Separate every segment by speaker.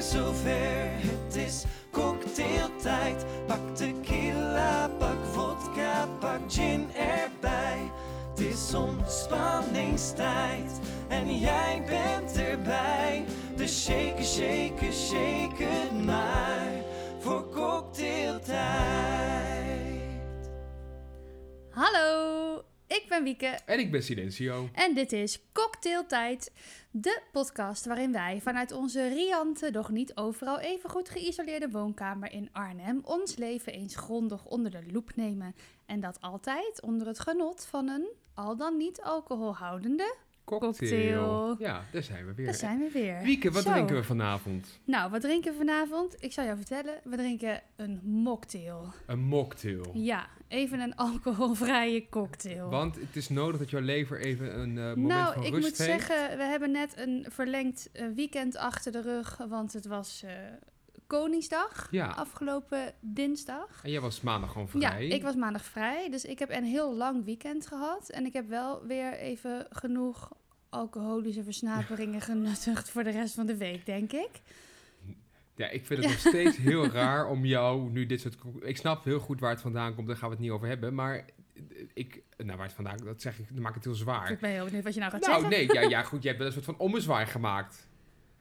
Speaker 1: zover. Het is cocktailtijd. Pak tequila, pak vodka, pak gin erbij. Het is ontspanningstijd en jij bent erbij. Dus shake, shake, shake het maar voor cocktailtijd.
Speaker 2: Hallo, ik ben Wieke
Speaker 3: En ik ben Silencio.
Speaker 2: en dit is Cocktailtijd, de podcast waarin wij vanuit onze riante, doch niet overal even goed geïsoleerde woonkamer in Arnhem ons leven eens grondig onder de loep nemen. En dat altijd onder het genot van een al dan niet alcoholhoudende.
Speaker 3: Cocktail.
Speaker 2: Cocktail.
Speaker 3: Ja, daar zijn we weer.
Speaker 2: Daar zijn we weer.
Speaker 3: Wieke, wat
Speaker 2: Zo.
Speaker 3: drinken we vanavond?
Speaker 2: Nou, wat drinken we vanavond? Ik zal jou vertellen, we drinken een mocktail.
Speaker 3: Een mocktail.
Speaker 2: Ja, even een alcoholvrije cocktail.
Speaker 3: Want het is nodig dat jouw lever even een eh, moment
Speaker 2: nou,
Speaker 3: van
Speaker 2: ik
Speaker 3: rust
Speaker 2: moet
Speaker 3: heeft.
Speaker 2: zeggen, we hebben net een verlengd eh, weekend achter de rug, want het was eh, Koningsdag,
Speaker 3: Ja,
Speaker 2: afgelopen dinsdag.
Speaker 3: en jij was maandag gewoon
Speaker 2: Ja,
Speaker 3: vrij.
Speaker 2: ik was maandag vrij, dus ik heb een heel lang weekend gehad. En ik heb wel weer even genoeg alcoholische versnaperingen genuttigd voor de rest van de week, denk ik.
Speaker 3: Ja, ik vind het nog steeds heel raar om jou nu dit soort... Ik snap heel goed waar het vandaan komt, daar gaan we het niet over hebben. Maar ik... Nou, waar het vandaan komt, dat zeg ik, dan maak ik het heel
Speaker 2: Ik
Speaker 3: zwaar.
Speaker 2: ben heel benieuwd wat je nou gaat
Speaker 3: Nou,
Speaker 2: zeggen.
Speaker 3: nee, ja, ja, goed, jij hebt wel een soort van ommezwaai gemaakt.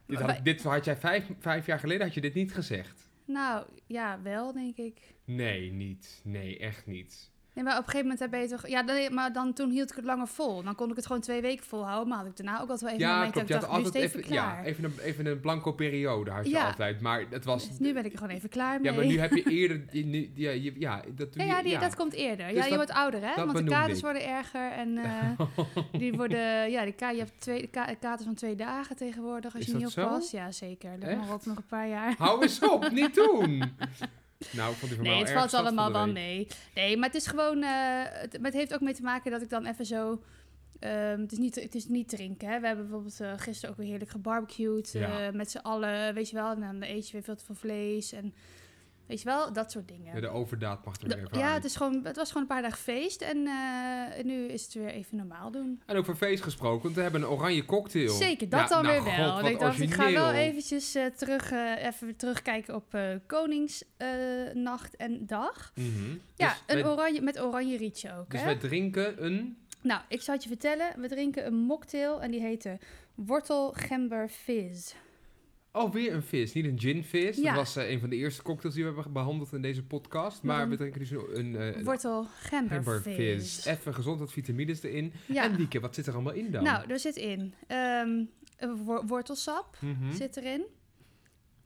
Speaker 3: Dit
Speaker 2: Maar wij-
Speaker 3: had, dit had jij vijf, vijf jaar geleden, had je dit niet gezegd.
Speaker 2: Nou, ja, wel, denk ik.
Speaker 3: Nee, niet. Nee, echt niet.
Speaker 2: Nee, maar op een gegeven moment heb je toch... Ja, dan, maar dan, toen hield ik het langer vol. Dan kon ik het gewoon twee weken volhouden. Maar had ik daarna ook altijd wel even een
Speaker 3: ja,
Speaker 2: moment
Speaker 3: klopt. Je
Speaker 2: dat
Speaker 3: had
Speaker 2: ik dacht, nu is
Speaker 3: altijd
Speaker 2: het even,
Speaker 3: even,
Speaker 2: klaar.
Speaker 3: ja, even, een, even een blanco periode had je
Speaker 2: Ja.
Speaker 3: altijd. Maar dat was.
Speaker 2: Dus nu ben ik er gewoon even klaar mee.
Speaker 3: Ja, maar nu heb je eerder. je- nu- ja, je- ja, dat doe
Speaker 2: ja, ja,
Speaker 3: je-
Speaker 2: die, dat komt eerder.
Speaker 3: Dus
Speaker 2: ja, je
Speaker 3: dat-
Speaker 2: wordt ouder, hè?
Speaker 3: dat
Speaker 2: Want de
Speaker 3: benoemde
Speaker 2: kaders
Speaker 3: ik.
Speaker 2: worden erger en eh, die worden... Ja, die ka je hebt twee, ka- katers van twee dagen tegenwoordig als
Speaker 3: Is
Speaker 2: je niet
Speaker 3: dat zo?
Speaker 2: oppast. Ja, zeker. Dat nog
Speaker 3: Echt?
Speaker 2: ook nog een paar jaar.
Speaker 3: Hou eens op, niet doen! Nou, ik vond die van
Speaker 2: Nee,
Speaker 3: mij
Speaker 2: het
Speaker 3: erg
Speaker 2: valt
Speaker 3: zat van
Speaker 2: allemaal
Speaker 3: de
Speaker 2: wel
Speaker 3: week.
Speaker 2: mee. Nee, maar het is gewoon... eh, het, maar het heeft ook mee te maken dat ik dan even zo... ehm, het, is niet, het is niet drinken, hè. We hebben bijvoorbeeld eh, gisteren ook weer heerlijk gebarbecued.
Speaker 3: Ja.
Speaker 2: eh, met z'n allen, weet je wel. En dan eet je weer veel te veel vlees. En weet je wel, dat soort dingen.
Speaker 3: Ja, de overdaad mag er
Speaker 2: De-
Speaker 3: weer even
Speaker 2: ja,
Speaker 3: aan.
Speaker 2: het, is gewoon, het was gewoon een paar dagen feest en eh, nu is het weer even normaal doen.
Speaker 3: En over feest gesproken, want we hebben een oranje cocktail.
Speaker 2: Zeker, dat
Speaker 3: Ja,
Speaker 2: dan
Speaker 3: nou,
Speaker 2: weer
Speaker 3: god,
Speaker 2: wel.
Speaker 3: wat
Speaker 2: En ik dacht, ik ga wel
Speaker 3: origineel.
Speaker 2: eventjes eh, terug, eh, even terugkijken op eh, Koningsnacht en dag.
Speaker 3: Mhm.
Speaker 2: Ja,
Speaker 3: Dus
Speaker 2: een
Speaker 3: wij-
Speaker 2: oranje, met oranje rietje ook.
Speaker 3: Dus
Speaker 2: hè?
Speaker 3: wij drinken een.
Speaker 2: Nou, ik zal het je vertellen. We drinken een mocktail en die heette Wortel Gember Fizz.
Speaker 3: Oh, weer een vis. Niet een ginvis.
Speaker 2: Ja.
Speaker 3: Dat was eh, een van de eerste cocktails die we hebben behandeld in deze podcast. Maar
Speaker 2: Waarom?
Speaker 3: we drinken dus een, een, eh, een
Speaker 2: Wortel Gember
Speaker 3: Peppervis.
Speaker 2: Fizz.
Speaker 3: Even gezond wat vitamines erin.
Speaker 2: Ja.
Speaker 3: En Wieke, wat zit er allemaal in Eh, dan?
Speaker 2: Nou, er zit in ehm, een wo- wortelsap
Speaker 3: Mhm.
Speaker 2: zit erin.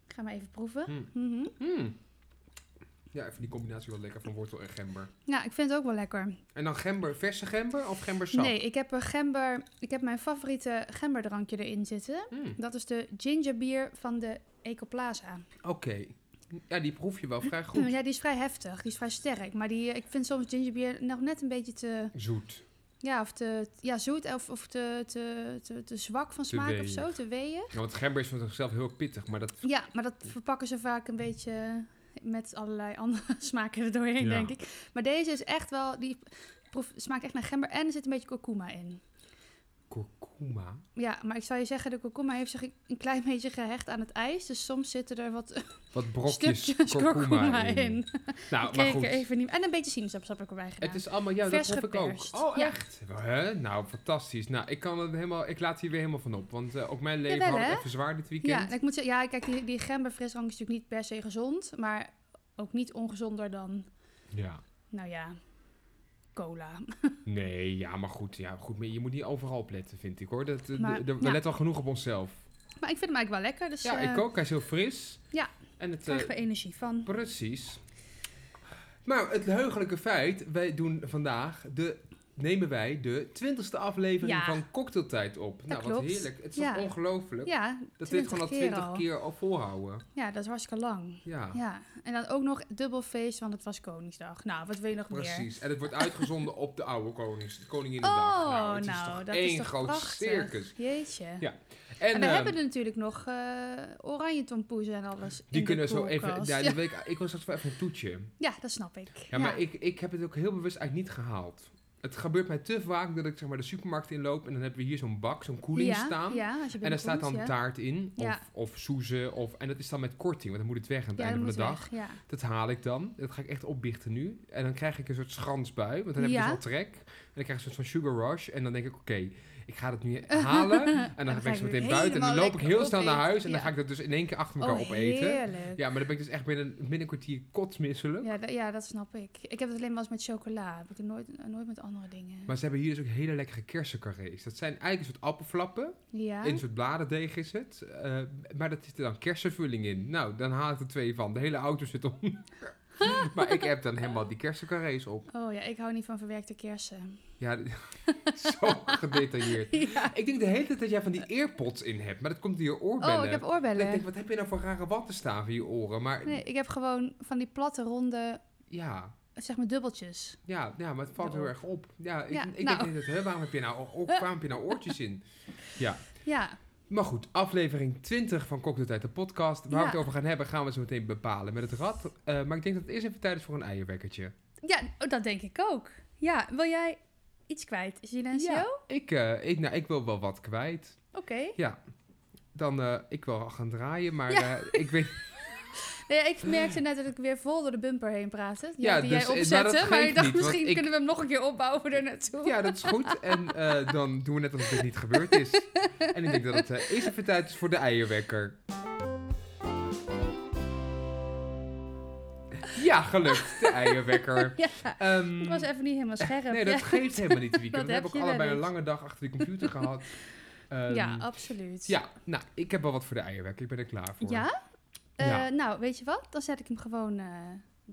Speaker 2: Ik ga maar even proeven.
Speaker 3: Mm.
Speaker 2: Mhm.
Speaker 3: Mm. Ja, ik vind die combinatie wel lekker van wortel en gember.
Speaker 2: Ja, ik vind het ook wel lekker.
Speaker 3: En dan gember, verse gember of gembersap?
Speaker 2: Nee, ik heb, een gember, ik heb mijn favoriete gemberdrankje erin zitten.
Speaker 3: Mm.
Speaker 2: Dat is de gingerbier van de Ecoplaza.
Speaker 3: Oké. Ja, die proef je wel vrij goed.
Speaker 2: Ja, die is vrij heftig. Die is vrij sterk. Maar die, eh, ik vind soms gingerbier nog net een beetje te,
Speaker 3: Zoet.
Speaker 2: ja, of te ja, zoet of, of te, te, te, te zwak van
Speaker 3: Te
Speaker 2: smaak of
Speaker 3: weeg.
Speaker 2: zo, te weeën.
Speaker 3: Ja, want gember is van zichzelf heel pittig, maar dat...
Speaker 2: Ja, maar dat verpakken ze vaak een beetje met allerlei andere smaken er doorheen,
Speaker 3: Ja.
Speaker 2: denk ik. Maar deze is echt wel, die proef, smaakt echt naar gember en er zit een beetje kurkuma in.
Speaker 3: Kurkuma?
Speaker 2: Ja, maar ik zou je zeggen, de kurkuma heeft zich een klein beetje gehecht aan het ijs. Dus soms zitten er wat
Speaker 3: Wat brokjes
Speaker 2: stukjes kurkuma in.
Speaker 3: Nou, maar
Speaker 2: Kijk
Speaker 3: goed.
Speaker 2: er even niet. En een beetje sinaasappelsap heb ik erbij gedaan.
Speaker 3: Het is allemaal... Ja,
Speaker 2: Vers
Speaker 3: dat proef
Speaker 2: geperst.
Speaker 3: ik ook. Oh,
Speaker 2: Ja.
Speaker 3: echt? Hè? Nou, fantastisch. Nou, ik kan het helemaal... Ik laat hier weer helemaal van op. Want eh, ook mijn leven
Speaker 2: Jawel,
Speaker 3: had
Speaker 2: hè?
Speaker 3: het even zwaar dit weekend.
Speaker 2: ja, en ik moet zeggen, ja, kijk, die, die gemberfrisdrank is natuurlijk niet per se gezond. Maar ook niet ongezonder dan,
Speaker 3: ja.
Speaker 2: nou ja, cola.
Speaker 3: Nee, ja, maar goed. Ja, goed maar je moet niet overal op letten, vind ik hoor. Dat, eh,
Speaker 2: Maar,
Speaker 3: d- d- we
Speaker 2: ja.
Speaker 3: letten al genoeg op onszelf.
Speaker 2: Maar ik vind hem eigenlijk wel lekker. Dus
Speaker 3: Ja,
Speaker 2: eh,
Speaker 3: ik ook. Hij is heel fris.
Speaker 2: ja.
Speaker 3: En het, eh,
Speaker 2: krijgen we energie van.
Speaker 3: precies. Maar het heugelijke feit, wij doen vandaag de, nemen wij de twintigste aflevering
Speaker 2: Ja.
Speaker 3: van Cocktailtijd op. nou, wat
Speaker 2: klopt.
Speaker 3: heerlijk. Het is toch
Speaker 2: Ja.
Speaker 3: ongelooflijk
Speaker 2: Ja,
Speaker 3: dat we dit
Speaker 2: 20
Speaker 3: gewoon al
Speaker 2: keer
Speaker 3: twintig
Speaker 2: al.
Speaker 3: keer al volhouden.
Speaker 2: ja, dat is hartstikke lang.
Speaker 3: Ja,
Speaker 2: Ja, en dan ook nog dubbel feest, want het was Koningsdag. Nou, wat wil je nog meer?
Speaker 3: precies. En het wordt uitgezonden op de oude konings, de Koninginnedag.
Speaker 2: Oh,
Speaker 3: het
Speaker 2: nou,
Speaker 3: is toch
Speaker 2: dat
Speaker 3: één
Speaker 2: is toch
Speaker 3: groot
Speaker 2: prachtig.
Speaker 3: circus.
Speaker 2: Jeetje.
Speaker 3: Ja,
Speaker 2: En, we
Speaker 3: eh,
Speaker 2: hebben dus er natuurlijk nog eh oranje tompoezen en alles in
Speaker 3: Die
Speaker 2: de
Speaker 3: kunnen zo
Speaker 2: koelkast.
Speaker 3: even. Ja,
Speaker 2: Ja,
Speaker 3: die Week, ik was straks wel even een toetje.
Speaker 2: ja, dat snap ik.
Speaker 3: Ja, maar ik, ik heb het ook heel bewust eigenlijk niet gehaald. Het het gebeurt mij te vaak dat ik zeg maar de supermarkt inloop en dan hebben we hier zo'n bak, zo'n koeling
Speaker 2: ja,
Speaker 3: staan.
Speaker 2: Ja, als je
Speaker 3: En daar staat dan
Speaker 2: binnenkomt, ja.
Speaker 3: taart in, of,
Speaker 2: Ja.
Speaker 3: of soezen, of, en dat is dan met korting, want dan moet het weg aan het
Speaker 2: Ja,
Speaker 3: einde
Speaker 2: dat
Speaker 3: van de
Speaker 2: moet
Speaker 3: dag.
Speaker 2: weg, Ja.
Speaker 3: Dat haal ik dan. Dat ga ik echt opbiechten nu. En dan krijg ik een soort schransbui. Want dan heb ik
Speaker 2: Ja.
Speaker 3: dus al trek. En dan krijg ik een soort van sugar rush. En dan denk ik, oké, ik ga dat nu halen. En
Speaker 2: dan
Speaker 3: dan, ben
Speaker 2: ga
Speaker 3: ik
Speaker 2: je
Speaker 3: zo meteen
Speaker 2: weer
Speaker 3: buiten. En dan
Speaker 2: helemaal
Speaker 3: loop ik heel
Speaker 2: lekker
Speaker 3: snel naar
Speaker 2: opeten.
Speaker 3: huis. En dan
Speaker 2: Ja. Oh,
Speaker 3: ga ik dat dus in één keer achter elkaar opeten.
Speaker 2: heerlijk.
Speaker 3: Ja, maar dan ben ik dus echt binnen, binnen een kwartier kotsmisselijk.
Speaker 2: Ja, dat- ja, dat snap ik. Ik heb het alleen maar eens met chocola. Heb ik het nooit, nooit met andere dingen.
Speaker 3: Maar ze hebben hier dus ook hele lekkere kersencarrés. Dat zijn eigenlijk een soort appelflappen.
Speaker 2: ja?
Speaker 3: In een soort bladerdeeg is het. Eh, maar dat zit er dan kersenvulling in. Nou, dan haal ik er twee van. De hele auto zit onder. maar ik heb dan helemaal die kersencarrés op.
Speaker 2: Oh ja, ik hou niet van verwerkte kersen.
Speaker 3: Ja, d- zo gedetailleerd.
Speaker 2: Ja.
Speaker 3: Ik denk de hele tijd dat jij van die earpods in hebt, maar dat komt door je oorbellen.
Speaker 2: Oh, ik heb
Speaker 3: En ik
Speaker 2: oorbellen.
Speaker 3: denk, wat heb je nou voor rare watten staan voor je oren? Maar
Speaker 2: Nee, ik heb gewoon van die platte, ronde,
Speaker 3: ja,
Speaker 2: zeg maar dubbeltjes.
Speaker 3: ja, ja, maar het valt heel
Speaker 2: Door.
Speaker 3: erg op. Ja, ik,
Speaker 2: Ja,
Speaker 3: ik
Speaker 2: nou.
Speaker 3: denk dat, hè, waarom heb je nou, o- o- waarom heb je nou oortjes in? Ja,
Speaker 2: Ja,
Speaker 3: maar goed, aflevering 20 van Cocktailtijd, de podcast. Waar
Speaker 2: Ja.
Speaker 3: we het over gaan hebben, gaan we zo meteen bepalen met het rad. Eh, maar ik denk dat het eerst even tijd is voor een eierwekkertje.
Speaker 2: ja oh, dat denk ik ook. Ja, wil jij iets kwijt, Silencio?
Speaker 3: Ja, ik, eh, ik, nou, ik wil wel wat kwijt.
Speaker 2: Oké.
Speaker 3: Dan, eh, ik wil gaan draaien, maar
Speaker 2: Ja.
Speaker 3: eh, ik weet
Speaker 2: Nee, ik merkte net dat ik weer vol door de bumper heen praatte. Ja,
Speaker 3: Ja,
Speaker 2: die
Speaker 3: dus, eh,
Speaker 2: jij
Speaker 3: maar
Speaker 2: opzette.
Speaker 3: dat
Speaker 2: Maar,
Speaker 3: geeft
Speaker 2: ik dacht,
Speaker 3: niet, want
Speaker 2: misschien
Speaker 3: ik-
Speaker 2: kunnen we hem nog een keer opbouwen er naartoe.
Speaker 3: Ja, dat is goed. En eh, dan doen we net alsof dit niet gebeurd is. En ik denk dat het eh, eerst even tijd is voor de eierwekker. Ja, gelukt. De eierwekker.
Speaker 2: Ja,
Speaker 3: Ehm,
Speaker 2: ik was even niet helemaal scherp.
Speaker 3: nee, dat
Speaker 2: ja.
Speaker 3: geeft helemaal niet, Wieke.
Speaker 2: Dat
Speaker 3: Want we
Speaker 2: heb
Speaker 3: hebben
Speaker 2: je
Speaker 3: ook
Speaker 2: wel
Speaker 3: allebei een
Speaker 2: eens.
Speaker 3: lange dag achter die computer gehad. Ehm,
Speaker 2: ja, oh. absoluut.
Speaker 3: ja, nou, ik heb wel wat voor de eierwekker. Ik ben er klaar voor.
Speaker 2: Ja? Eh,
Speaker 3: Ja.
Speaker 2: Nou, weet je wat? Dan zet ik hem gewoon, eh,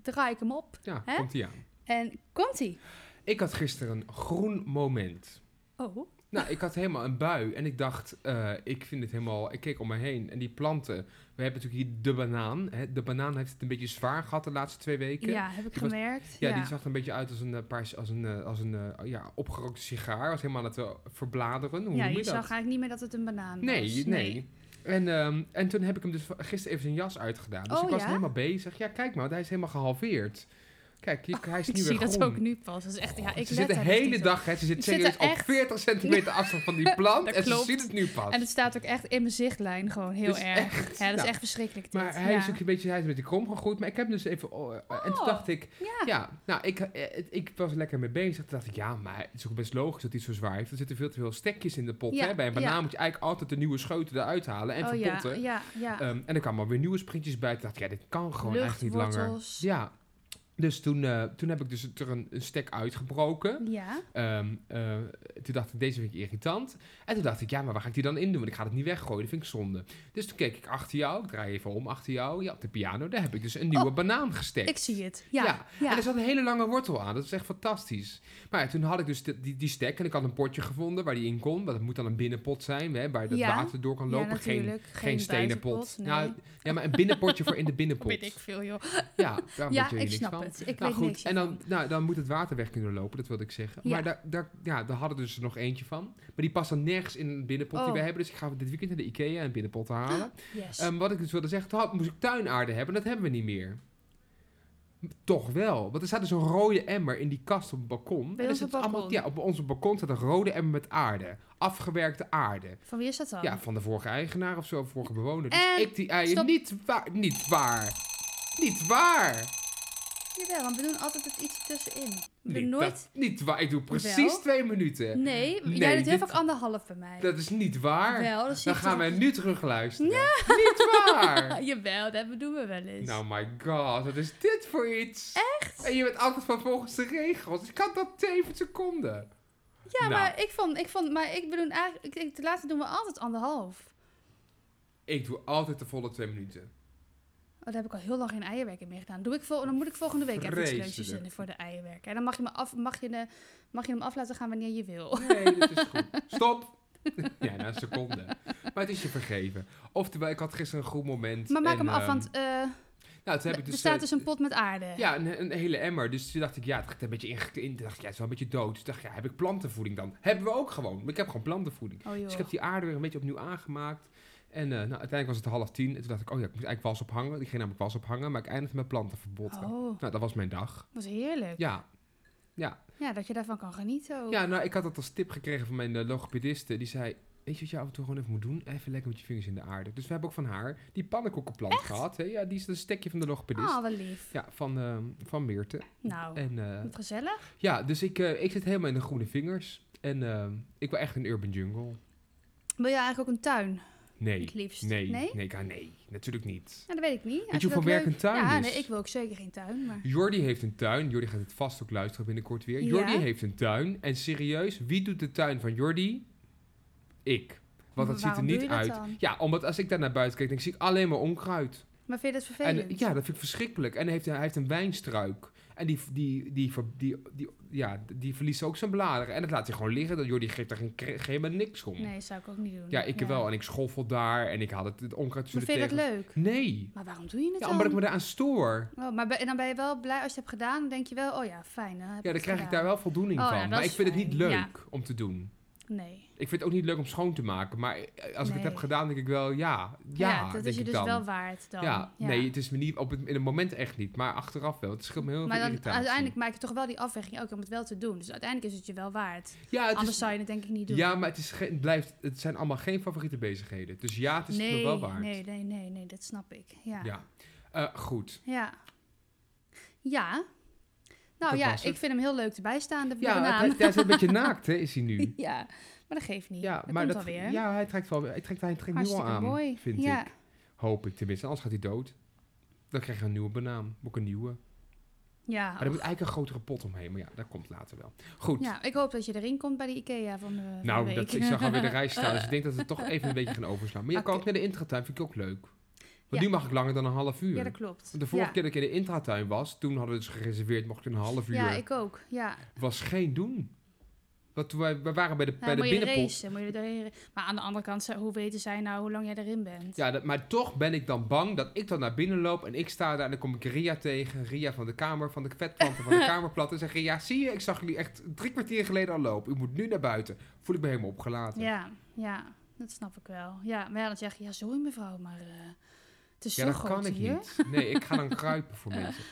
Speaker 2: draai ik hem op.
Speaker 3: Ja,
Speaker 2: Hè?
Speaker 3: komt-ie aan.
Speaker 2: En komt-ie.
Speaker 3: Ik had gisteren een groen moment.
Speaker 2: Oh,
Speaker 3: Nou, ik had helemaal een bui en ik dacht, eh, ik vind het helemaal... Ik keek om me heen en die planten... We hebben natuurlijk hier de banaan. Hè? De banaan heeft het een beetje zwaar gehad de laatste twee weken.
Speaker 2: ja, heb ik
Speaker 3: die eh, was-
Speaker 2: gemerkt.
Speaker 3: Ja, die zag er een beetje uit als een, eh, paars, als een, eh, als een eh, ja, opgerookte sigaar. Was helemaal aan het eh, verbladeren. Hoe
Speaker 2: Ja,
Speaker 3: noem je,
Speaker 2: je
Speaker 3: dat?
Speaker 2: zag eigenlijk niet meer dat het een banaan was.
Speaker 3: Nee, nee. En, ehm, en toen heb ik hem dus va- gisteren even zijn jas uitgedaan. Dus
Speaker 2: Oh,
Speaker 3: ik was
Speaker 2: ja?
Speaker 3: helemaal bezig. Ja, kijk maar, want hij is helemaal gehalveerd. Kijk, hier- hij is
Speaker 2: Ik
Speaker 3: nu
Speaker 2: zie
Speaker 3: weer
Speaker 2: dat
Speaker 3: groen.
Speaker 2: ook nu pas. Dat is echt, ja, ik
Speaker 3: ze
Speaker 2: let
Speaker 3: zit de
Speaker 2: daar dus niet
Speaker 3: hele
Speaker 2: op.
Speaker 3: dag, hè, ze zit
Speaker 2: Ze zit er
Speaker 3: serieus op
Speaker 2: echt-
Speaker 3: 40 centimeter afstand van die plant.
Speaker 2: Dat
Speaker 3: en ze
Speaker 2: klopt.
Speaker 3: ziet het nu pas.
Speaker 2: En het staat ook echt in mijn zichtlijn gewoon heel
Speaker 3: Dit is
Speaker 2: erg.
Speaker 3: echt-
Speaker 2: ja, dat
Speaker 3: nou,
Speaker 2: is echt verschrikkelijk dit.
Speaker 3: Maar hij
Speaker 2: ja.
Speaker 3: is ook een beetje, hij is een beetje krom gegroeid. Maar ik heb hem dus even... oh, eh, En toen
Speaker 2: Oh.
Speaker 3: dacht ik...
Speaker 2: Ja.
Speaker 3: Ja, nou, ik, eh, het- ik was er lekker mee bezig. Toen dacht ik, ja, maar het is ook best logisch dat hij zo zwaar heeft. Er zitten veel te veel stekjes in de pot.
Speaker 2: Ja,
Speaker 3: Hè? Bij een banaan
Speaker 2: ja.
Speaker 3: moet je eigenlijk altijd de nieuwe scheuten eruit halen en
Speaker 2: oh, ja,
Speaker 3: verpotten.
Speaker 2: ja, ja.
Speaker 3: Ehm, en er kwamen alweer nieuwe sprintjes bij. Toen dacht ik, ja, dit kan gewoon echt niet langer.
Speaker 2: Luchtwortels.
Speaker 3: Ja, dus toen, eh, toen heb ik dus er een, een stek uitgebroken.
Speaker 2: Ja.
Speaker 3: Ehm, eh, toen dacht ik, deze vind ik irritant. En toen dacht ik, ja, maar waar ga ik die dan in doen? Want ik ga het niet weggooien, dat vind ik zonde. Dus toen keek ik achter jou, ik draai even om achter jou. Ja, op de piano, daar heb ik dus een nieuwe banaan gestekt.
Speaker 2: Oh, Ik zie het. Ja.
Speaker 3: Ja,
Speaker 2: ja.
Speaker 3: En er zat een hele lange wortel aan, dat is echt fantastisch. Maar ja, toen had ik dus de- die, die stek en ik had een potje gevonden waar die in kon. Want dat moet dan een binnenpot zijn, hè, waar dat
Speaker 2: Ja.
Speaker 3: water door kan
Speaker 2: Ja,
Speaker 3: lopen. geen,
Speaker 2: natuurlijk.
Speaker 3: geen stenenpot.
Speaker 2: buitenpot,
Speaker 3: Nou,
Speaker 2: nee.
Speaker 3: ja, maar een binnenpotje voor in de binnenpot.
Speaker 2: Weet ik veel, joh.
Speaker 3: Ja, daar
Speaker 2: Ja,
Speaker 3: weet je
Speaker 2: ik
Speaker 3: niks
Speaker 2: snap het.
Speaker 3: van.
Speaker 2: Ik
Speaker 3: nou
Speaker 2: weet
Speaker 3: goed,
Speaker 2: niks
Speaker 3: en dan,
Speaker 2: hiervan.
Speaker 3: nou, dan moet het water weg kunnen lopen, dat wilde ik zeggen.
Speaker 2: Ja.
Speaker 3: Maar daar, daar, ja, daar hadden we dus er nog eentje van. Maar die past dan nergens in een binnenpot die
Speaker 2: Oh.
Speaker 3: we hebben. Dus ik ga dit weekend naar de Ikea een binnenpot halen.
Speaker 2: Yes.
Speaker 3: Ehm, wat ik dus wilde zeggen, toen had, moest ik tuinaarde hebben. Dat hebben we niet meer. M- Toch wel. Want er staat dus een rode emmer in die kast op het balkon.
Speaker 2: Bij
Speaker 3: En er
Speaker 2: ons op
Speaker 3: zit
Speaker 2: het
Speaker 3: allemaal,
Speaker 2: balkon?
Speaker 3: ja, op ons balkon staat een rode emmer met aarde. Afgewerkte aarde.
Speaker 2: Van wie is dat dan?
Speaker 3: Ja, van de vorige eigenaar of zo, vorige bewoner. Dus
Speaker 2: En
Speaker 3: ik die eieren
Speaker 2: stop.
Speaker 3: niet waar. Niet waar. Niet waar.
Speaker 2: Jawel, want we doen altijd het iets tussenin. We
Speaker 3: Nee,
Speaker 2: doen nooit...
Speaker 3: dat niet waar. Ik doe precies
Speaker 2: Wel?
Speaker 3: twee minuten.
Speaker 2: Nee,
Speaker 3: Nee,
Speaker 2: jij doet heel
Speaker 3: dit-
Speaker 2: vaak anderhalf bij mij.
Speaker 3: Dat is niet waar.
Speaker 2: Wel, dat zie
Speaker 3: Dan
Speaker 2: ik
Speaker 3: gaan
Speaker 2: toch-
Speaker 3: wij nu terug luisteren. Niet waar.
Speaker 2: Jawel, dat doen we wel eens.
Speaker 3: Nou, my god, wat is dit voor iets? Echt? En je bent altijd van volgens de regels. Ik had dat zeven seconden.
Speaker 2: ja,
Speaker 3: nou.
Speaker 2: maar ik vond... Ik vond maar ik bedoel eigenlijk... Ik, denk, de laatste doen we altijd anderhalf.
Speaker 3: Ik doe altijd de volle twee minuten.
Speaker 2: Oh, daar heb ik al heel lang geen eierwerken meer gedaan. Doe ik vol, dan moet ik volgende week even iets
Speaker 3: Vreselijk.
Speaker 2: leuks verzinnen voor de eierwerken. En dan mag je, me af, mag, je de, mag je hem af laten gaan wanneer je wil.
Speaker 3: Nee, dat is goed. Stop. ja, na een seconde. Maar het is je vergeven. Oftewel, ik had gisteren een goed moment.
Speaker 2: Maar maak
Speaker 3: en,
Speaker 2: hem af,
Speaker 3: ehm,
Speaker 2: want eh,
Speaker 3: nou, toen heb
Speaker 2: er
Speaker 3: ik dus,
Speaker 2: staat
Speaker 3: eh,
Speaker 2: dus een pot met aarde.
Speaker 3: Ja, een, een hele emmer. Dus toen dacht ik, ja, het gaat een beetje ingekleed. Toen dacht ik, ja, het is wel een beetje dood. Toen dacht ik, ja, heb ik plantenvoeding dan? Hebben we ook gewoon. Maar ik heb gewoon plantenvoeding.
Speaker 2: Oh joh.
Speaker 3: Dus ik heb die aarde weer een beetje opnieuw aangemaakt. En eh, nou, uiteindelijk was het half tien. En toen dacht ik, oh ja, ik moet eigenlijk was ophangen. Ik ging namelijk was ophangen, maar ik eindigde met plantenverbod.
Speaker 2: Oh,
Speaker 3: Nou, dat was mijn dag.
Speaker 2: was heerlijk.
Speaker 3: Ja. Ja.
Speaker 2: Ja, dat je daarvan kan genieten. ook.
Speaker 3: Ja, nou, ik had dat als tip gekregen van mijn eh, logopediste. Die zei, weet je wat je af en toe gewoon even moet doen? Even lekker met je vingers in de aarde. Dus we hebben ook van haar die pannenkoekenplant gehad. Hè? Ja, die is een stekje van de logopedist.
Speaker 2: Ah, wel lief.
Speaker 3: Ja, van, eh, van Meerte.
Speaker 2: Nou,
Speaker 3: En eh,
Speaker 2: wat gezellig.
Speaker 3: ja, dus ik, eh, ik zit helemaal in de groene vingers. En eh, ik wil echt een urban jungle.
Speaker 2: Wil je eigenlijk ook een tuin,
Speaker 3: Nee.
Speaker 2: het liefst?
Speaker 3: Nee,
Speaker 2: Nee?
Speaker 3: nee, ja, nee, natuurlijk niet.
Speaker 2: Nou, dat weet ik niet. Als
Speaker 3: je hoeveel
Speaker 2: dat
Speaker 3: werk
Speaker 2: leuk-
Speaker 3: een tuin dus.
Speaker 2: Ja,
Speaker 3: is?
Speaker 2: nee, ik wil ook zeker geen tuin, maar...
Speaker 3: Jordi heeft een tuin. Jordi gaat het vast ook luisteren binnenkort weer. Jordi
Speaker 2: Ja.
Speaker 3: heeft een tuin. En serieus, wie doet de tuin van Jordi? Ik. Want dat ziet er
Speaker 2: Waarom doe
Speaker 3: niet
Speaker 2: je dat
Speaker 3: uit.
Speaker 2: dan?
Speaker 3: Ja, omdat als ik daar naar buiten kijk, dan zie ik alleen maar onkruid.
Speaker 2: Maar vind je dat
Speaker 3: En,
Speaker 2: vervelend?
Speaker 3: ja, dat vind ik verschrikkelijk. En hij heeft, hij heeft een wijnstruik. En die, die, die, ver- die, die, ja, die verliest ook zijn bladeren. En dat laat hij gewoon liggen. Dat Jordi geeft daar geen, kre- geen maar niks om.
Speaker 2: Nee, zou ik ook niet doen.
Speaker 3: Ja, ik wel. En ik schoffel daar. En ik haal het, het onkruid
Speaker 2: Maar
Speaker 3: tussen
Speaker 2: vind je
Speaker 3: de
Speaker 2: dat leuk?
Speaker 3: tegels. Nee.
Speaker 2: Maar waarom doe je het
Speaker 3: Ja,
Speaker 2: dan?
Speaker 3: omdat ik me daaraan stoor.
Speaker 2: Oh, maar ben- en dan ben je wel blij als je het hebt gedaan. Dan denk je wel, oh ja, fijn. Dan heb
Speaker 3: Ja,
Speaker 2: ik
Speaker 3: dan
Speaker 2: het
Speaker 3: krijg ik daar
Speaker 2: gedaan.
Speaker 3: wel voldoening
Speaker 2: Oh, ja,
Speaker 3: van.
Speaker 2: dat
Speaker 3: maar
Speaker 2: is
Speaker 3: ik vind het niet
Speaker 2: fijn.
Speaker 3: leuk
Speaker 2: Ja.
Speaker 3: om te doen.
Speaker 2: Nee.
Speaker 3: Ik vind het ook niet leuk om schoon te maken. Maar eh, als ik het
Speaker 2: Nee.
Speaker 3: heb gedaan, denk ik wel, ja. Ja,
Speaker 2: dat
Speaker 3: denk
Speaker 2: is je
Speaker 3: ik
Speaker 2: dus
Speaker 3: dan.
Speaker 2: wel waard dan.
Speaker 3: Ja, nee, het is me niet, op het, in het moment echt niet. Maar achteraf wel. Het scheelt me heel
Speaker 2: maar
Speaker 3: veel
Speaker 2: dan,
Speaker 3: irritatie.
Speaker 2: uiteindelijk maak je toch wel die afweging ook om het wel te doen. Dus uiteindelijk is het je wel waard.
Speaker 3: ja, het
Speaker 2: Anders
Speaker 3: is,
Speaker 2: zou je het denk ik niet doen.
Speaker 3: ja, maar het, is geen- het blijft, het zijn allemaal geen favoriete bezigheden. Dus ja, het is het me
Speaker 2: nee,
Speaker 3: wel waard.
Speaker 2: nee, nee, nee, nee, dat snap ik. Ja.
Speaker 3: Ja. Eh, goed.
Speaker 2: Ja. Ja. Nou
Speaker 3: Dat
Speaker 2: ja, ik
Speaker 3: was het.
Speaker 2: vind hem heel leuk erbij staan, de
Speaker 3: Ja,
Speaker 2: banaan.
Speaker 3: hij, hij is een beetje naakt, hè, is hij nu.
Speaker 2: ja, maar dat geeft niet.
Speaker 3: Ja,
Speaker 2: dat
Speaker 3: maar
Speaker 2: komt
Speaker 3: dat,
Speaker 2: alweer.
Speaker 3: ja, hij trekt wel hij trekt, hij trekt nu al
Speaker 2: Hartstikke
Speaker 3: aan,
Speaker 2: mooi.
Speaker 3: vind
Speaker 2: ja.
Speaker 3: ik. Hoop ik tenminste, anders gaat hij dood. Dan krijg je een nieuwe banaan, ook een nieuwe.
Speaker 2: Ja,
Speaker 3: Maar er moet eigenlijk een grotere pot omheen, maar ja, dat komt later wel. Goed,
Speaker 2: ja, ik hoop dat je erin komt bij de IKEA van de van de
Speaker 3: nou,
Speaker 2: week.
Speaker 3: dat, ik zag alweer de rij staan, dus ik denk dat we toch even een beetje gaan overslaan. Maar je kan
Speaker 2: Oké.
Speaker 3: ook naar de intratuin, vind ik ook leuk.
Speaker 2: Ja.
Speaker 3: Want nu mag ik langer dan een half uur.
Speaker 2: Ja, dat klopt.
Speaker 3: Want de vorige
Speaker 2: ja.
Speaker 3: keer dat ik in de intratuin was, toen hadden we dus gereserveerd, mocht ik een half uur.
Speaker 2: Ja, ik ook. Ja. Nou,
Speaker 3: Was geen doen. Want toen wij, wij waren bij de,
Speaker 2: Ja,
Speaker 3: bij de
Speaker 2: Nou, moet je er
Speaker 3: binnenpot.
Speaker 2: racen, moet je er- Maar aan de andere kant, hoe weten zij nou hoe lang jij erin bent?
Speaker 3: Ja, dat, maar toch ben ik dan bang dat ik dan naar binnen loop en ik sta daar en dan kom ik Ria tegen. Ria van de Kamer, van de vetplanten van de Kamerplant. En zeg Ria, zie je, ik zag jullie echt drie kwartier geleden al lopen. U moet nu naar buiten. Voel ik me helemaal opgelaten.
Speaker 2: Ja, ja, dat snap ik wel. Ja, maar ja, dan zeg je, ja, sorry mevrouw, maar eh, het is
Speaker 3: Ja,
Speaker 2: zo
Speaker 3: dat
Speaker 2: groot
Speaker 3: kan ik
Speaker 2: hier.
Speaker 3: niet. Nee, ik ga dan kruipen voor mensen.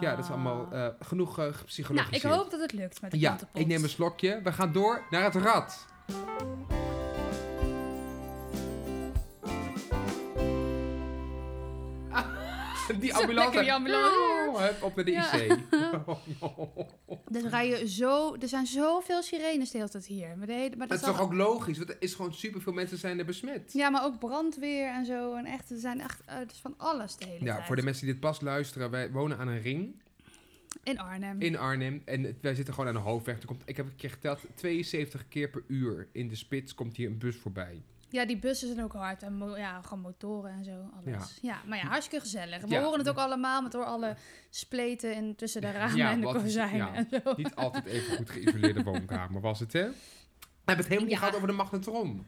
Speaker 3: Ja, dat is allemaal
Speaker 2: Ah.
Speaker 3: eh, genoeg eh
Speaker 2: nou,
Speaker 3: psychologisch.
Speaker 2: ik hoop dat het lukt met de
Speaker 3: Ja,
Speaker 2: plantenpot.
Speaker 3: ik neem een slokje. We gaan door naar het rad. Ah, Die
Speaker 2: Zo lekker
Speaker 3: ambulance.
Speaker 2: die ambulance.
Speaker 3: Oh, hup, op naar de
Speaker 2: Ja.
Speaker 3: IC.
Speaker 2: Er, rijden zo, er zijn zoveel sirenes de hele tijd hier. Maar de hele, maar
Speaker 3: Dat is
Speaker 2: zal-
Speaker 3: toch ook logisch? Want er is gewoon superveel mensen zijn er besmet.
Speaker 2: Ja, maar ook brandweer en zo. En echt, er zijn echt eh, het is van alles de hele
Speaker 3: Ja,
Speaker 2: tijd.
Speaker 3: voor de mensen die dit pas luisteren. Wij wonen aan een ring
Speaker 2: In Arnhem.
Speaker 3: in Arnhem. En het- wij zitten gewoon aan de hoofdweg. Er komt, ik heb een keer geteld, 72 keer per uur in de spits komt hier een bus voorbij.
Speaker 2: Ja, die bussen zijn ook hard. En mo- ja, gewoon motoren en zo, alles. Ja, maar ja, hartstikke gezellig. We
Speaker 3: Hm. Ja.
Speaker 2: horen het ook allemaal met door alle spleten en tussen de ramen
Speaker 3: Ja,
Speaker 2: en de
Speaker 3: wat is-
Speaker 2: kozijnen
Speaker 3: ja.
Speaker 2: en zo.
Speaker 3: Niet altijd even goed geïsoleerde woonkamer was het, hè? We hebben het helemaal niet
Speaker 2: Ja.
Speaker 3: gehad over de magnetron.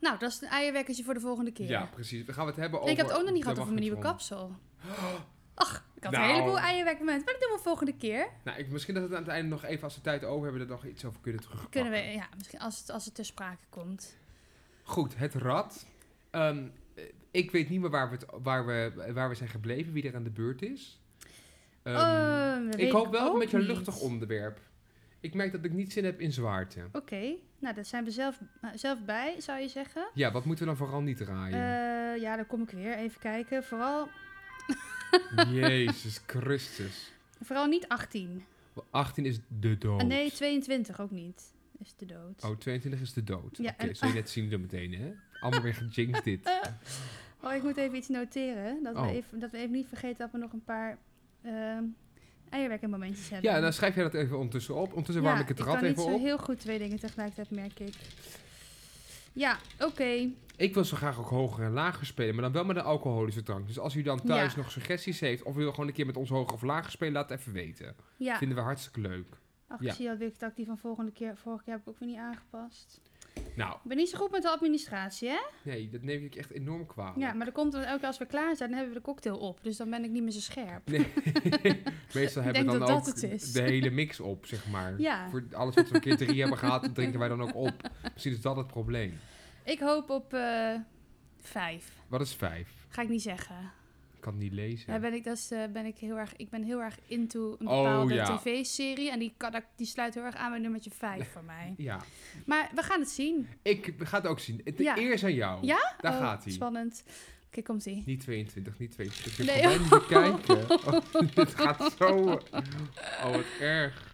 Speaker 2: Nou, dat is een eierwekkertje voor de volgende keer.
Speaker 3: Ja, precies. We gaan het hebben
Speaker 2: En
Speaker 3: over...
Speaker 2: ik heb het ook nog niet
Speaker 3: de
Speaker 2: gehad over mijn nieuwe
Speaker 3: magnetron.
Speaker 2: kapsel. Ach, ik had een
Speaker 3: Nou.
Speaker 2: heleboel eierwekmomenten. Maar dat doen we volgende keer.
Speaker 3: Nou, ik, misschien dat we het aan het einde nog even, als we tijd over hebben, er nog iets over kunnen terugpakken.
Speaker 2: Kunnen we, ja, misschien als het, als het ter sprake komt.
Speaker 3: Goed, het rad. Ehm, eh, ik weet niet meer waar we, het, waar, we, waar we zijn gebleven, wie er aan de beurt is. Ehm,
Speaker 2: Ehm, dat weet
Speaker 3: ik hoop wel
Speaker 2: ook
Speaker 3: een beetje een luchtig
Speaker 2: niet.
Speaker 3: onderwerp. Ik merk dat ik niet zin heb in zwaarte.
Speaker 2: Oké, nou, daar zijn we zelf, zelf bij, zou je zeggen.
Speaker 3: Ja, wat moeten we dan vooral niet draaien?
Speaker 2: Eh, ja, dan kom ik weer even kijken. Vooral, Eh.
Speaker 3: Jezus Christus.
Speaker 2: vooral niet 18.
Speaker 3: 18 is de dood.
Speaker 2: Ah, nee, 22 ook niet. Is de dood.
Speaker 3: Oh, 22 is de dood.
Speaker 2: Ja,
Speaker 3: Oké,
Speaker 2: en-
Speaker 3: zul je net zien dan meteen, hè? Allemaal weer gejinxed dit.
Speaker 2: Oh, ik moet even iets noteren. Dat,
Speaker 3: Oh.
Speaker 2: we, even, dat we even niet vergeten dat we nog een paar ehm eierwerkenmomentjes hebben.
Speaker 3: Ja, dan schrijf jij dat even ondertussen op. Ondertussen warm ik het rad
Speaker 2: kan niet
Speaker 3: even
Speaker 2: zo
Speaker 3: op.
Speaker 2: heel goed twee dingen tegelijkertijd, merk ik. Ja, oké.
Speaker 3: Ik wil zo graag ook hoger en lager spelen, maar dan wel met een alcoholische drank. Dus als u dan thuis
Speaker 2: Ja.
Speaker 3: nog suggesties heeft of u wil gewoon een keer met ons hoger of lager spelen, laat het even weten.
Speaker 2: Ja,
Speaker 3: Vinden we hartstikke leuk.
Speaker 2: ach,
Speaker 3: ja.
Speaker 2: ik zie alweer dat ik die van volgende keer, vorige keer heb ik ook weer niet aangepast.
Speaker 3: Nou,
Speaker 2: Ik ben niet zo goed met de administratie, hè?
Speaker 3: nee, dat neem ik echt enorm kwalijk.
Speaker 2: Ja, maar dat komt dan elke keer als we klaar zijn, dan hebben we de cocktail op. Dus dan ben ik niet meer zo scherp.
Speaker 3: Nee. Meestal hebben
Speaker 2: denk
Speaker 3: we dan
Speaker 2: dat
Speaker 3: ook
Speaker 2: dat het is.
Speaker 3: de hele mix op, zeg maar.
Speaker 2: Ja.
Speaker 3: Voor alles wat we een keer drie hebben gehad, drinken wij dan ook op. Misschien is dat het probleem.
Speaker 2: Ik hoop op eh vijf.
Speaker 3: Wat is vijf?
Speaker 2: Ga ik niet zeggen.
Speaker 3: kan het niet lezen.
Speaker 2: Daar ben ik, dat is, eh, ben ik, heel erg, ik ben heel erg into een
Speaker 3: Oh,
Speaker 2: bepaalde
Speaker 3: ja.
Speaker 2: tv-serie. En die, kan, die sluit heel erg aan bij nummertje 5 voor mij.
Speaker 3: Ja,
Speaker 2: Maar we gaan het zien.
Speaker 3: ik ga het ook zien. De
Speaker 2: Ja.
Speaker 3: eer is aan jou.
Speaker 2: Ja?
Speaker 3: Daar
Speaker 2: Oh,
Speaker 3: gaat hij.
Speaker 2: Spannend. Oké, komt ie.
Speaker 3: Niet 22, niet 22. Ik
Speaker 2: Nee,
Speaker 3: nee. niet kijken. Oh, dit gaat zo... Oh, wat erg.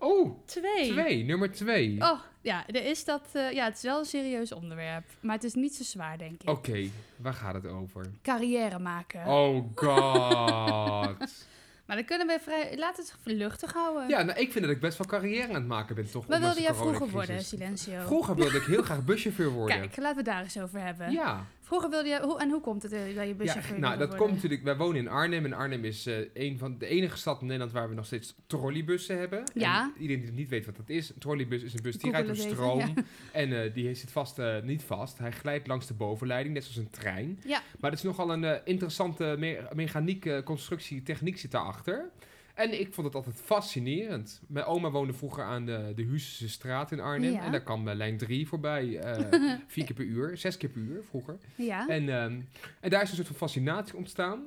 Speaker 3: Oeh,
Speaker 2: Twee.
Speaker 3: twee, nummer twee.
Speaker 2: Oh, ja, er is dat, eh, ja, het is wel een serieus onderwerp. Maar het is niet zo zwaar, denk ik.
Speaker 3: Oké, waar gaat het over?
Speaker 2: Carrière maken.
Speaker 3: Oh
Speaker 2: Oh.
Speaker 3: god.
Speaker 2: Maar dan kunnen we vrij... Laat het luchtig houden.
Speaker 3: Ja, nou, ik vind dat ik best wel carrière aan het maken ben, toch?
Speaker 2: Wat
Speaker 3: ondanks
Speaker 2: wilde
Speaker 3: de
Speaker 2: jij vroeger
Speaker 3: coronacrisis.
Speaker 2: worden, Silencio?
Speaker 3: Vroeger wilde ik heel graag buschauffeur worden.
Speaker 2: Kijk, laten we het daar eens over hebben.
Speaker 3: ja.
Speaker 2: Vroeger wilde je... Hoe, en hoe komt het eh, dat je
Speaker 3: ja,
Speaker 2: buschauffeur
Speaker 3: nou,
Speaker 2: wilde
Speaker 3: dat komt
Speaker 2: worden?
Speaker 3: natuurlijk... Wij wonen in Arnhem. En Arnhem is eh, een van de enige stad in Nederland... waar we nog steeds trolleybussen hebben. En
Speaker 2: Ja.
Speaker 3: iedereen die het niet weet wat dat is. Een trolleybus is een bus die
Speaker 2: Google
Speaker 3: rijdt op
Speaker 2: het even,
Speaker 3: stroom. En eh, die zit vast, eh, niet vast. Hij glijdt langs de bovenleiding, net zoals een trein.
Speaker 2: Ja.
Speaker 3: Maar het is nogal een eh, interessante me- mechaniek, eh, constructie, techniek zit daarachter. En ik vond het altijd fascinerend. Mijn oma woonde vroeger aan de, de Huizense straat in Arnhem.
Speaker 2: Ja.
Speaker 3: En daar kwam eh, lijn 3 voorbij. eh, vier keer per uur, zes keer per uur vroeger.
Speaker 2: Ja.
Speaker 3: En, ehm, en daar is een soort van fascinatie ontstaan.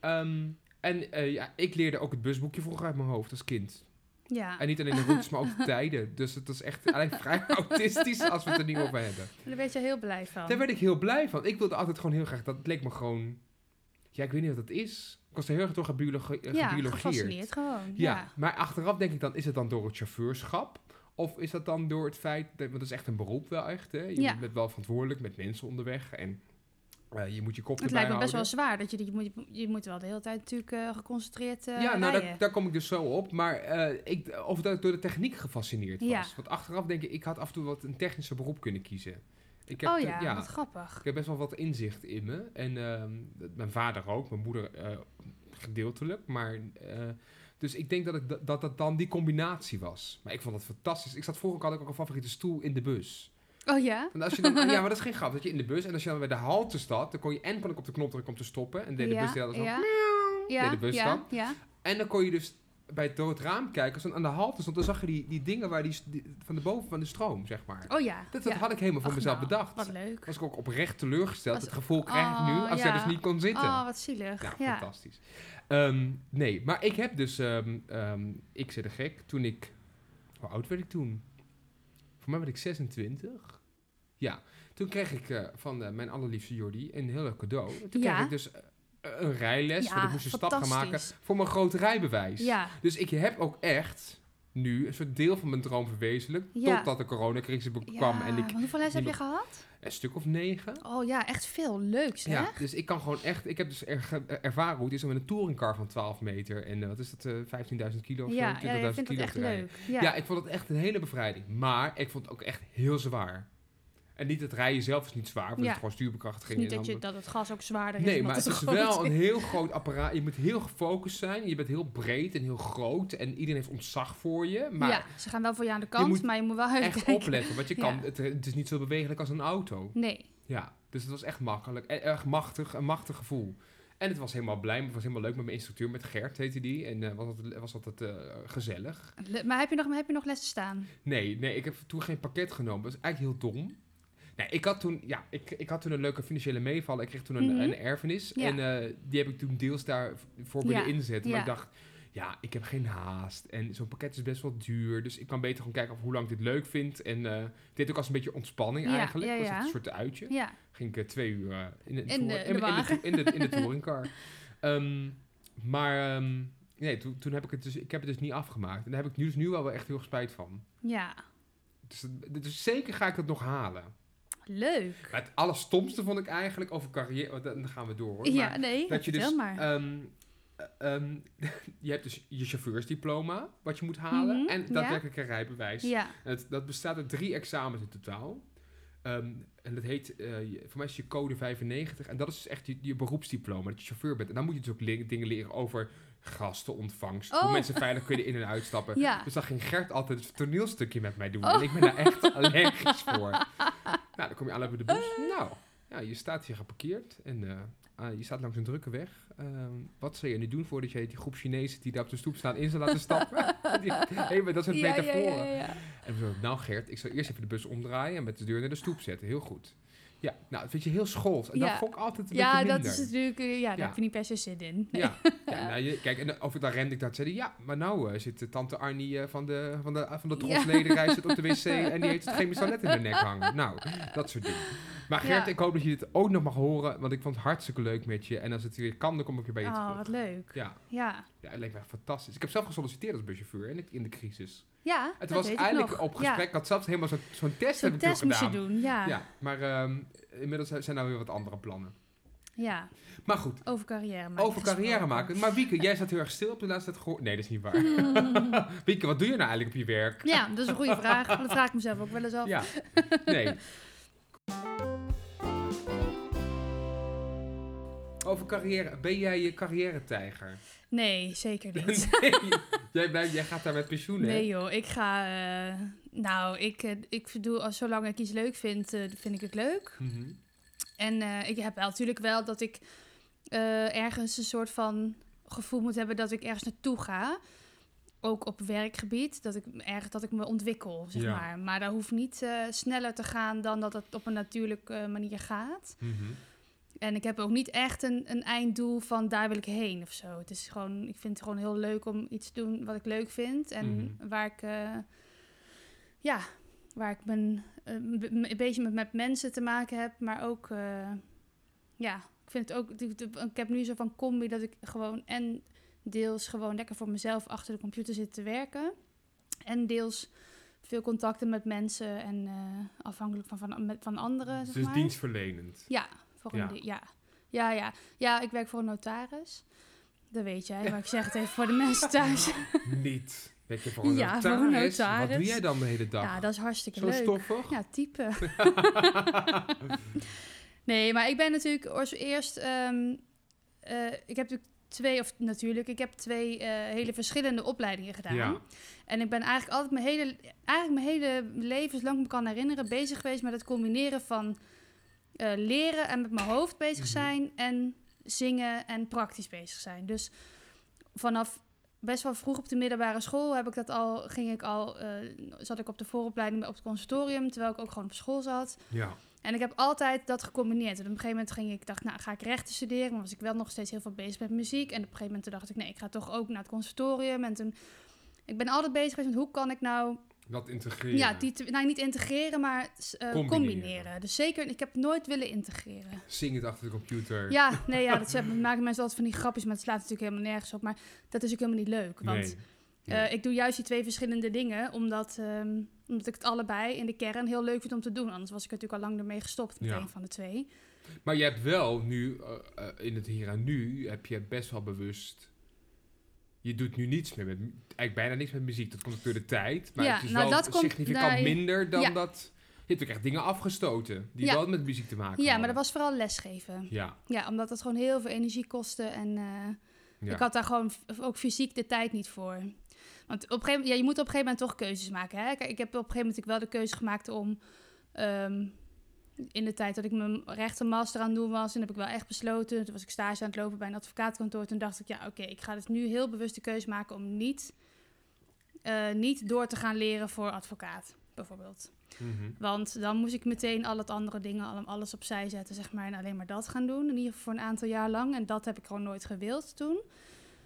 Speaker 3: Ehm, en eh, ja, ik leerde ook het busboekje vroeger uit mijn hoofd als kind.
Speaker 2: ja.
Speaker 3: En niet alleen de routes, maar ook de tijden. Dus het is echt eigenlijk vrij autistisch als we het er niet over hebben.
Speaker 2: Daar werd je heel blij van.
Speaker 3: Daar werd ik heel blij van. Ik wilde altijd gewoon heel graag, dat leek me gewoon... Ja, ik weet niet wat dat is. Ik was er heel erg door gebiologie,
Speaker 2: ja,
Speaker 3: gebiologeerd.
Speaker 2: gefascineerd gewoon.
Speaker 3: eh, Ja,
Speaker 2: Ja.
Speaker 3: maar achteraf denk ik dan, is het dan door het chauffeurschap? Of is dat dan door het feit, dat, want dat is echt een beroep wel echt, hè? Je
Speaker 2: Ja.
Speaker 3: bent wel verantwoordelijk met mensen onderweg en eh, je moet je kop
Speaker 2: Het
Speaker 3: erbij
Speaker 2: lijkt me best wel
Speaker 3: houden.
Speaker 2: zwaar. Dat je, je, moet, je moet wel de hele tijd natuurlijk eh, geconcentreerd eh
Speaker 3: ja, nou,
Speaker 2: rijden.
Speaker 3: daar, daar kom ik dus zo op. Maar eh, ik, of dat ik door de techniek gefascineerd was.
Speaker 2: Ja.
Speaker 3: Want achteraf denk ik, ik had af en toe wat een technische beroep kunnen kiezen. Ik heb,
Speaker 2: oh
Speaker 3: eh,
Speaker 2: ja, wat grappig.
Speaker 3: Ik heb best wel wat inzicht in me. En ehm, dat- mijn vader ook, mijn moeder eh, gedeeltelijk. Maar, eh, dus ik denk dat, ik da- dat dat dan die combinatie was. Maar ik vond dat fantastisch. Ik zat vroeger had ik ook een favoriete stoel in de bus.
Speaker 2: Oh ja?
Speaker 3: Want als je dan, ja, maar dat is geen grap. Dat je in de bus en als je dan bij de halte staat, dan kon je en kon ik op de knop drukken om te stoppen. En deed de
Speaker 2: ja,
Speaker 3: bus de hele tijd zo.
Speaker 2: ja.
Speaker 3: deed
Speaker 2: Ja,
Speaker 3: de bus
Speaker 2: ja,
Speaker 3: dan.
Speaker 2: ja.
Speaker 3: En dan kon je dus bij het door het raam kijken. Als dan aan de halte stond, dan zag je die, die dingen waar die, s- die- van de boven van de stroom, zeg maar.
Speaker 2: Oh ja.
Speaker 3: Dat, dat
Speaker 2: ja.
Speaker 3: had ik helemaal voor
Speaker 2: Ach,
Speaker 3: mezelf
Speaker 2: nou,
Speaker 3: bedacht
Speaker 2: Wat leuk.
Speaker 3: was ik ook oprecht teleurgesteld.
Speaker 2: Was-
Speaker 3: het gevoel krijg ik nu
Speaker 2: Oh,
Speaker 3: als jij
Speaker 2: ja.
Speaker 3: dus niet kon zitten. Nou,
Speaker 2: Oh, wat zielig.
Speaker 3: ja,
Speaker 2: Ja,
Speaker 3: fantastisch. Ehm, nee, maar ik heb dus... ehm, ehm, ik zit er gek. Toen ik... Hoe oud werd ik toen? Voor mij werd ik 26. Ja. Toen kreeg ik eh, van eh, mijn allerliefste Jordi een heel leuk cadeau. Toen
Speaker 2: Ja.
Speaker 3: kreeg ik dus eh, een rijles.
Speaker 2: Ja,
Speaker 3: want ik moest een stap gaan maken
Speaker 2: fantastisch.
Speaker 3: voor mijn groot rijbewijs.
Speaker 2: Ja,
Speaker 3: Dus ik heb ook echt nu een soort deel van mijn droom verwezenlijkt.
Speaker 2: Ja.
Speaker 3: Totdat de coronacrisis kwam en ik
Speaker 2: want hoeveel les heb je
Speaker 3: niemand-
Speaker 2: gehad?
Speaker 3: een stuk of negen...
Speaker 2: Oh ja, echt veel. Leuks, hè?
Speaker 3: Ja, dus ik kan gewoon echt... Ik heb dus er, ge- ervaren hoe het is om met een touringcar van 12 meter... en eh, wat is dat, eh, 15.000 kilo of zo,
Speaker 2: ja,
Speaker 3: 20.000
Speaker 2: ja, ik vind dat
Speaker 3: kilo
Speaker 2: echt
Speaker 3: te rijden.
Speaker 2: leuk. Ja.
Speaker 3: Ja. ik vond het echt een hele bevrijding. Maar ik vond het ook echt heel zwaar. En niet het rijden zelf is niet zwaar, want
Speaker 2: Ja.
Speaker 3: het is gewoon
Speaker 2: Het
Speaker 3: stuurbekrachtiging.
Speaker 2: is niet
Speaker 3: en
Speaker 2: dat, je,
Speaker 3: dan-
Speaker 2: dat het gas ook zwaarder is.
Speaker 3: Nee, maar
Speaker 2: omdat
Speaker 3: het is
Speaker 2: groot
Speaker 3: wel een heel groot apparaat. Je moet heel gefocust zijn. Je bent heel breed en heel groot. En iedereen heeft ontzag voor je. Maar
Speaker 2: ja, ze gaan wel voor je aan de kant,
Speaker 3: moet
Speaker 2: maar je moet wel
Speaker 3: echt
Speaker 2: uitkijken.
Speaker 3: opletten. Want je kan,
Speaker 2: Ja.
Speaker 3: het, het is niet zo bewegelijk als een auto.
Speaker 2: Nee,
Speaker 3: Ja, dus het was echt makkelijk. En erg machtig, een machtig gevoel. En het was helemaal blij, het was helemaal leuk met mijn instructeur, met Gert heette die. En eh, was altijd, was altijd eh, gezellig.
Speaker 2: Le- maar heb je nog, maar heb je nog lessen staan?
Speaker 3: Nee, nee, ik heb toen geen pakket genomen. Dat is eigenlijk heel dom. Nee, ik had toen, ja, ik, ik had toen een leuke financiële meevaller. Ik kreeg toen een,
Speaker 2: Mhm.
Speaker 3: een erfenis.
Speaker 2: Ja.
Speaker 3: En eh, die heb ik toen deels daarvoor willen
Speaker 2: Ja,
Speaker 3: inzetten. Maar
Speaker 2: ja.
Speaker 3: ik dacht, ja, ik heb geen haast. En zo'n pakket is best wel duur. Dus ik kan beter gewoon kijken of hoe lang ik dit leuk vind. En eh, dit ook als een beetje ontspanning
Speaker 2: Ja,
Speaker 3: eigenlijk.
Speaker 2: ja,
Speaker 3: Dat was echt
Speaker 2: ja.
Speaker 3: een soort uitje
Speaker 2: Ja,
Speaker 3: ging ik eh, twee uur eh, in, de,
Speaker 2: In de-
Speaker 3: toer-
Speaker 2: in de wagen.
Speaker 3: in, de, in, de, in de touringcar. Ehm, maar ehm, nee, toen, toen heb ik het dus, ik heb het dus niet afgemaakt. En daar heb ik nu, dus nu wel wel echt heel spijt van.
Speaker 2: ja.
Speaker 3: Dus, dat- dus zeker ga ik het nog halen.
Speaker 2: Leuk.
Speaker 3: Maar het allerstomste vond ik eigenlijk over carrière... want Dan gaan we door, hoor. Maar
Speaker 2: ja, nee,
Speaker 3: dat je dus...
Speaker 2: vertel maar.
Speaker 3: ehm, ehm, je hebt dus je chauffeursdiploma, wat je moet halen.
Speaker 2: Mhm,
Speaker 3: en
Speaker 2: ja.
Speaker 3: daadwerkelijk een rijbewijs.
Speaker 2: ja,
Speaker 3: Het, dat bestaat uit drie examens in totaal. Ehm, en dat heet, eh, je- voor mij is je code 95. En dat is dus echt je, je beroepsdiploma, dat je chauffeur bent. En dan moet je dus ook le- dingen leren over gastenontvangst. Hoe
Speaker 2: Oh.
Speaker 3: mensen veilig kunnen in- en uitstappen.
Speaker 2: ja.
Speaker 3: Dus dan ging Gert altijd het toneelstukje met mij doen.
Speaker 2: Oh.
Speaker 3: En ik ben daar echt allergisch voor. Nou, dan kom je aan bij de bus.
Speaker 2: Oh.
Speaker 3: Nou, ja, je staat hier geparkeerd. En eh, ah, je staat langs een drukke weg. Ehm, wat zou je nu doen voordat je die groep Chinezen die daar op de stoep staan in zou laten stappen? Die- hey, maar dat soort
Speaker 2: ja, ja,
Speaker 3: metaforen.
Speaker 2: ja, ja.
Speaker 3: En we zo, nou Gert, ik zal eerst even de bus omdraaien en met de deur naar de stoep zetten. Heel goed. Ja, nou, dat vind je heel schools. En
Speaker 2: Ja.
Speaker 3: dat vond ik altijd een
Speaker 2: Ja,
Speaker 3: beetje
Speaker 2: dat
Speaker 3: minder.
Speaker 2: is natuurlijk... eh, Ja, daar
Speaker 3: Ja.
Speaker 2: heb je niet per se zin in. Nee.
Speaker 3: Ja, ja nou, je- kijk, en of ik daar rende, ik dacht, zeiden, ja, maar nou eh, zit eh, tante Arnie eh, van de, van de, van de
Speaker 2: Ja.
Speaker 3: trotslederij zit op de wc en die heeft het chemisch toilet in de nek hangen. Nou, dat soort dingen. Maar Gert,
Speaker 2: Ja.
Speaker 3: ik hoop dat je dit ook nog mag horen, want ik vond het hartstikke leuk met je. En als het weer kan, dan kom ik weer bij je
Speaker 2: Oh,
Speaker 3: terug.
Speaker 2: wat leuk.
Speaker 3: Ja,
Speaker 2: Ja,
Speaker 3: ja, het leek me echt fantastisch. Ik heb zelf gesolliciteerd als buschauffeur in de, in de crisis.
Speaker 2: ja
Speaker 3: Het
Speaker 2: dat
Speaker 3: was
Speaker 2: weet ik
Speaker 3: eigenlijk
Speaker 2: nog.
Speaker 3: op gesprek, ik had zelfs helemaal zo'n zo'n test
Speaker 2: Ja,
Speaker 3: heb
Speaker 2: zo'n
Speaker 3: ik toen
Speaker 2: test moest je
Speaker 3: gedaan.
Speaker 2: doen, ja. ja.
Speaker 3: Ja, maar ehm, inmiddels zijn daar weer wat andere plannen. Maar goed,
Speaker 2: over carrière maken.
Speaker 3: Over carrière maken. Maar Wieke, jij staat heel erg stil op de laatste tijd. gehoor- Nee, dat is niet waar. Wieke, wat doe je nou eigenlijk op je werk?
Speaker 2: Ja, dat is een goede vraag. Dat vraag ik mezelf ook wel eens af.
Speaker 3: Ja. Nee. Over carrière. Ben jij je carrière-tijger?
Speaker 2: Nee, zeker niet.
Speaker 3: Nee. jij, blijft, jij gaat daar met pensioen, hè?
Speaker 2: Nee joh, ik ga... eh, nou, ik, eh, ik doe als zolang ik iets leuk vind, eh, vind ik het leuk.
Speaker 3: Mhm.
Speaker 2: En eh, ik heb wel natuurlijk wel dat ik eh, ergens een soort van gevoel moet hebben dat ik ergens naartoe ga. Ook op werkgebied, dat ik, erg, dat ik me ontwikkel, zeg
Speaker 3: Ja.
Speaker 2: maar. Maar dat hoeft niet eh, sneller te gaan dan dat het op een natuurlijke eh, manier gaat.
Speaker 3: Mhm.
Speaker 2: En ik heb ook niet echt een, een einddoel van daar wil ik heen of zo. Het is gewoon, ik vind het gewoon heel leuk om iets te doen wat ik leuk vind. En
Speaker 3: Mhm.
Speaker 2: waar ik, eh, ja, waar ik ben, een beetje met, met mensen te maken heb. Maar ook, eh, ja, ik vind het ook, ik- ik ik heb nu zo van combi dat ik gewoon en deels gewoon lekker voor mezelf achter de computer zit te werken. En deels veel contacten met mensen en eh, afhankelijk van, van, met- van anderen, zeg
Speaker 3: Dus
Speaker 2: maar.
Speaker 3: dienstverlenend.
Speaker 2: Ja, voor een
Speaker 3: Ja.
Speaker 2: die- ja. ja, ja. Ja, ik werk voor een notaris. Dat weet jij, maar ik zeg het even voor de mensen thuis.
Speaker 3: niet. Weet je, voor een
Speaker 2: Hmm. Ja, voor
Speaker 3: notaris.
Speaker 2: een
Speaker 3: Wat
Speaker 2: notaris.
Speaker 3: doe jij dan de hele dag?
Speaker 2: Ja, dat is hartstikke
Speaker 3: Zo
Speaker 2: leuk.
Speaker 3: stoffig?
Speaker 2: Ja, type. nee, maar ik ben natuurlijk als eerst... ehm, eh, ik heb natuurlijk twee, of natuurlijk, ik heb twee eh, hele verschillende opleidingen gedaan.
Speaker 3: Ja.
Speaker 2: En ik ben eigenlijk altijd mijn hele, eigenlijk mijn hele leven, zolang ik me kan herinneren, bezig geweest met het combineren van eh, leren en met mijn hoofd bezig
Speaker 3: Mhm.
Speaker 2: zijn en zingen en praktisch bezig zijn. Dus vanaf best wel vroeg op de middelbare school heb ik dat al, ging ik al, eh, zat ik op de vooropleiding op het conservatorium, terwijl ik ook gewoon op school zat.
Speaker 3: ja.
Speaker 2: En ik heb altijd dat gecombineerd. En op een gegeven moment ging ik, dacht, nou ga ik rechten studeren. Maar was ik wel nog steeds heel veel bezig met muziek. En op een gegeven moment toen dacht ik, nee, ik ga toch ook naar het conservatorium. En toen, ik ben altijd bezig geweest met hoe kan ik nou,
Speaker 3: Dat integreren.
Speaker 2: ja, die, te- nou niet integreren, maar eh, combineren.
Speaker 3: Combineren.
Speaker 2: Dus zeker, ik heb het nooit willen integreren.
Speaker 3: Zingend achter de computer.
Speaker 2: Ja, nee, ja, dat zeggen- maken mensen altijd van die grapjes, maar het slaat natuurlijk helemaal nergens op. Maar dat is ook helemaal niet leuk. Want
Speaker 3: Nee.
Speaker 2: eh, ik doe juist die twee verschillende dingen, omdat, ehm, omdat ik het allebei in de kern heel leuk vind om te doen. Anders was ik er natuurlijk al lang ermee gestopt met
Speaker 3: Ja.
Speaker 2: een van de twee.
Speaker 3: Maar je hebt wel nu, eh, eh, in het hier en nu, heb je best wel bewust... Je doet nu niets meer met, mu- eigenlijk bijna niks met muziek. Dat komt ook door de tijd. Maar
Speaker 2: Ja,
Speaker 3: het is
Speaker 2: nou,
Speaker 3: wel
Speaker 2: dat komt-
Speaker 3: significant
Speaker 2: nee.
Speaker 3: minder dan
Speaker 2: Ja.
Speaker 3: dat... Je hebt ook echt dingen afgestoten die
Speaker 2: Ja.
Speaker 3: wel met muziek te
Speaker 2: Ja,
Speaker 3: maken
Speaker 2: maar
Speaker 3: hadden.
Speaker 2: dat was vooral lesgeven.
Speaker 3: Ja,
Speaker 2: Ja, omdat dat gewoon heel veel energie kostte en eh,
Speaker 3: ja.
Speaker 2: ik had daar gewoon f- ook fysiek de tijd niet voor. Want op een gegeven moment, ja, je moet op een gegeven moment toch keuzes maken. Hè? Kijk, ik heb op een gegeven moment natuurlijk wel de keuze gemaakt om ehm, in de tijd dat ik mijn rechtenmaster aan het doen was, en heb ik wel echt besloten. Toen was ik stage aan het lopen bij een advocaatkantoor. Toen dacht ik, ja, oké, ik ga dus nu heel bewust de keuze maken om niet, eh, niet door te gaan leren voor advocaat, bijvoorbeeld.
Speaker 3: Mhm.
Speaker 2: Want dan moest ik meteen al het andere dingen, al- alles opzij zetten, zeg maar. En alleen maar dat gaan doen. In ieder geval voor een aantal jaar lang. En dat heb ik gewoon nooit gewild toen.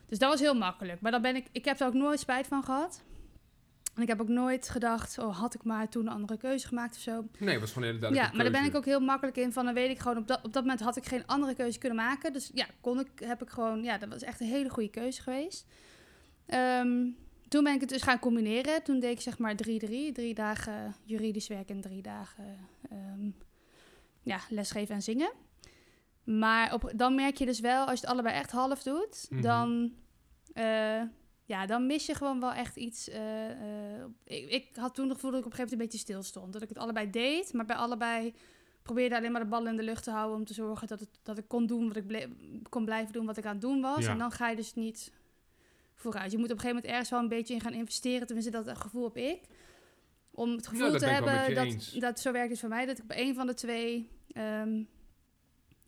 Speaker 2: Dus dat was heel makkelijk. Maar dan ben ik, ik heb er ook nooit spijt van gehad. En ik heb ook nooit gedacht, oh, had ik maar toen een andere keuze gemaakt of zo.
Speaker 3: Nee, het was gewoon een hele
Speaker 2: ja,
Speaker 3: duidelijke
Speaker 2: maar daar ben ik
Speaker 3: keuze.
Speaker 2: ook heel makkelijk in van. Dan weet ik gewoon, op dat, op dat moment had ik geen andere keuze kunnen maken. Dus ja, kon ik, heb ik gewoon, ja, dat was echt een hele goede keuze geweest. Ehm, toen ben ik het dus gaan combineren. Toen deed ik zeg maar 3-3. Drie dagen juridisch werk en drie dagen ehm, ja, lesgeven en zingen. Maar op, dan merk je dus wel, als je het allebei echt half doet,
Speaker 3: Mhm.
Speaker 2: dan, eh, ja, dan mis je gewoon wel echt iets. eh, eh, ik, ik had toen het gevoel dat ik op een gegeven moment een beetje stil stond. Dat ik het allebei deed, maar bij allebei probeerde alleen maar de ballen in de lucht te houden om te zorgen dat, het, dat ik kon doen wat ik ble- kon blijven doen wat ik aan het doen was.
Speaker 3: Ja.
Speaker 2: En dan ga je dus niet vooruit. Je moet op een gegeven moment ergens wel een beetje in gaan investeren. Tenminste, dat gevoel heb ik. Om het gevoel
Speaker 3: dat
Speaker 2: te
Speaker 3: ben ik wel met
Speaker 2: hebben
Speaker 3: je
Speaker 2: dat,
Speaker 3: eens.
Speaker 2: dat zo werkt het voor mij. Dat ik bij een van de twee ehm,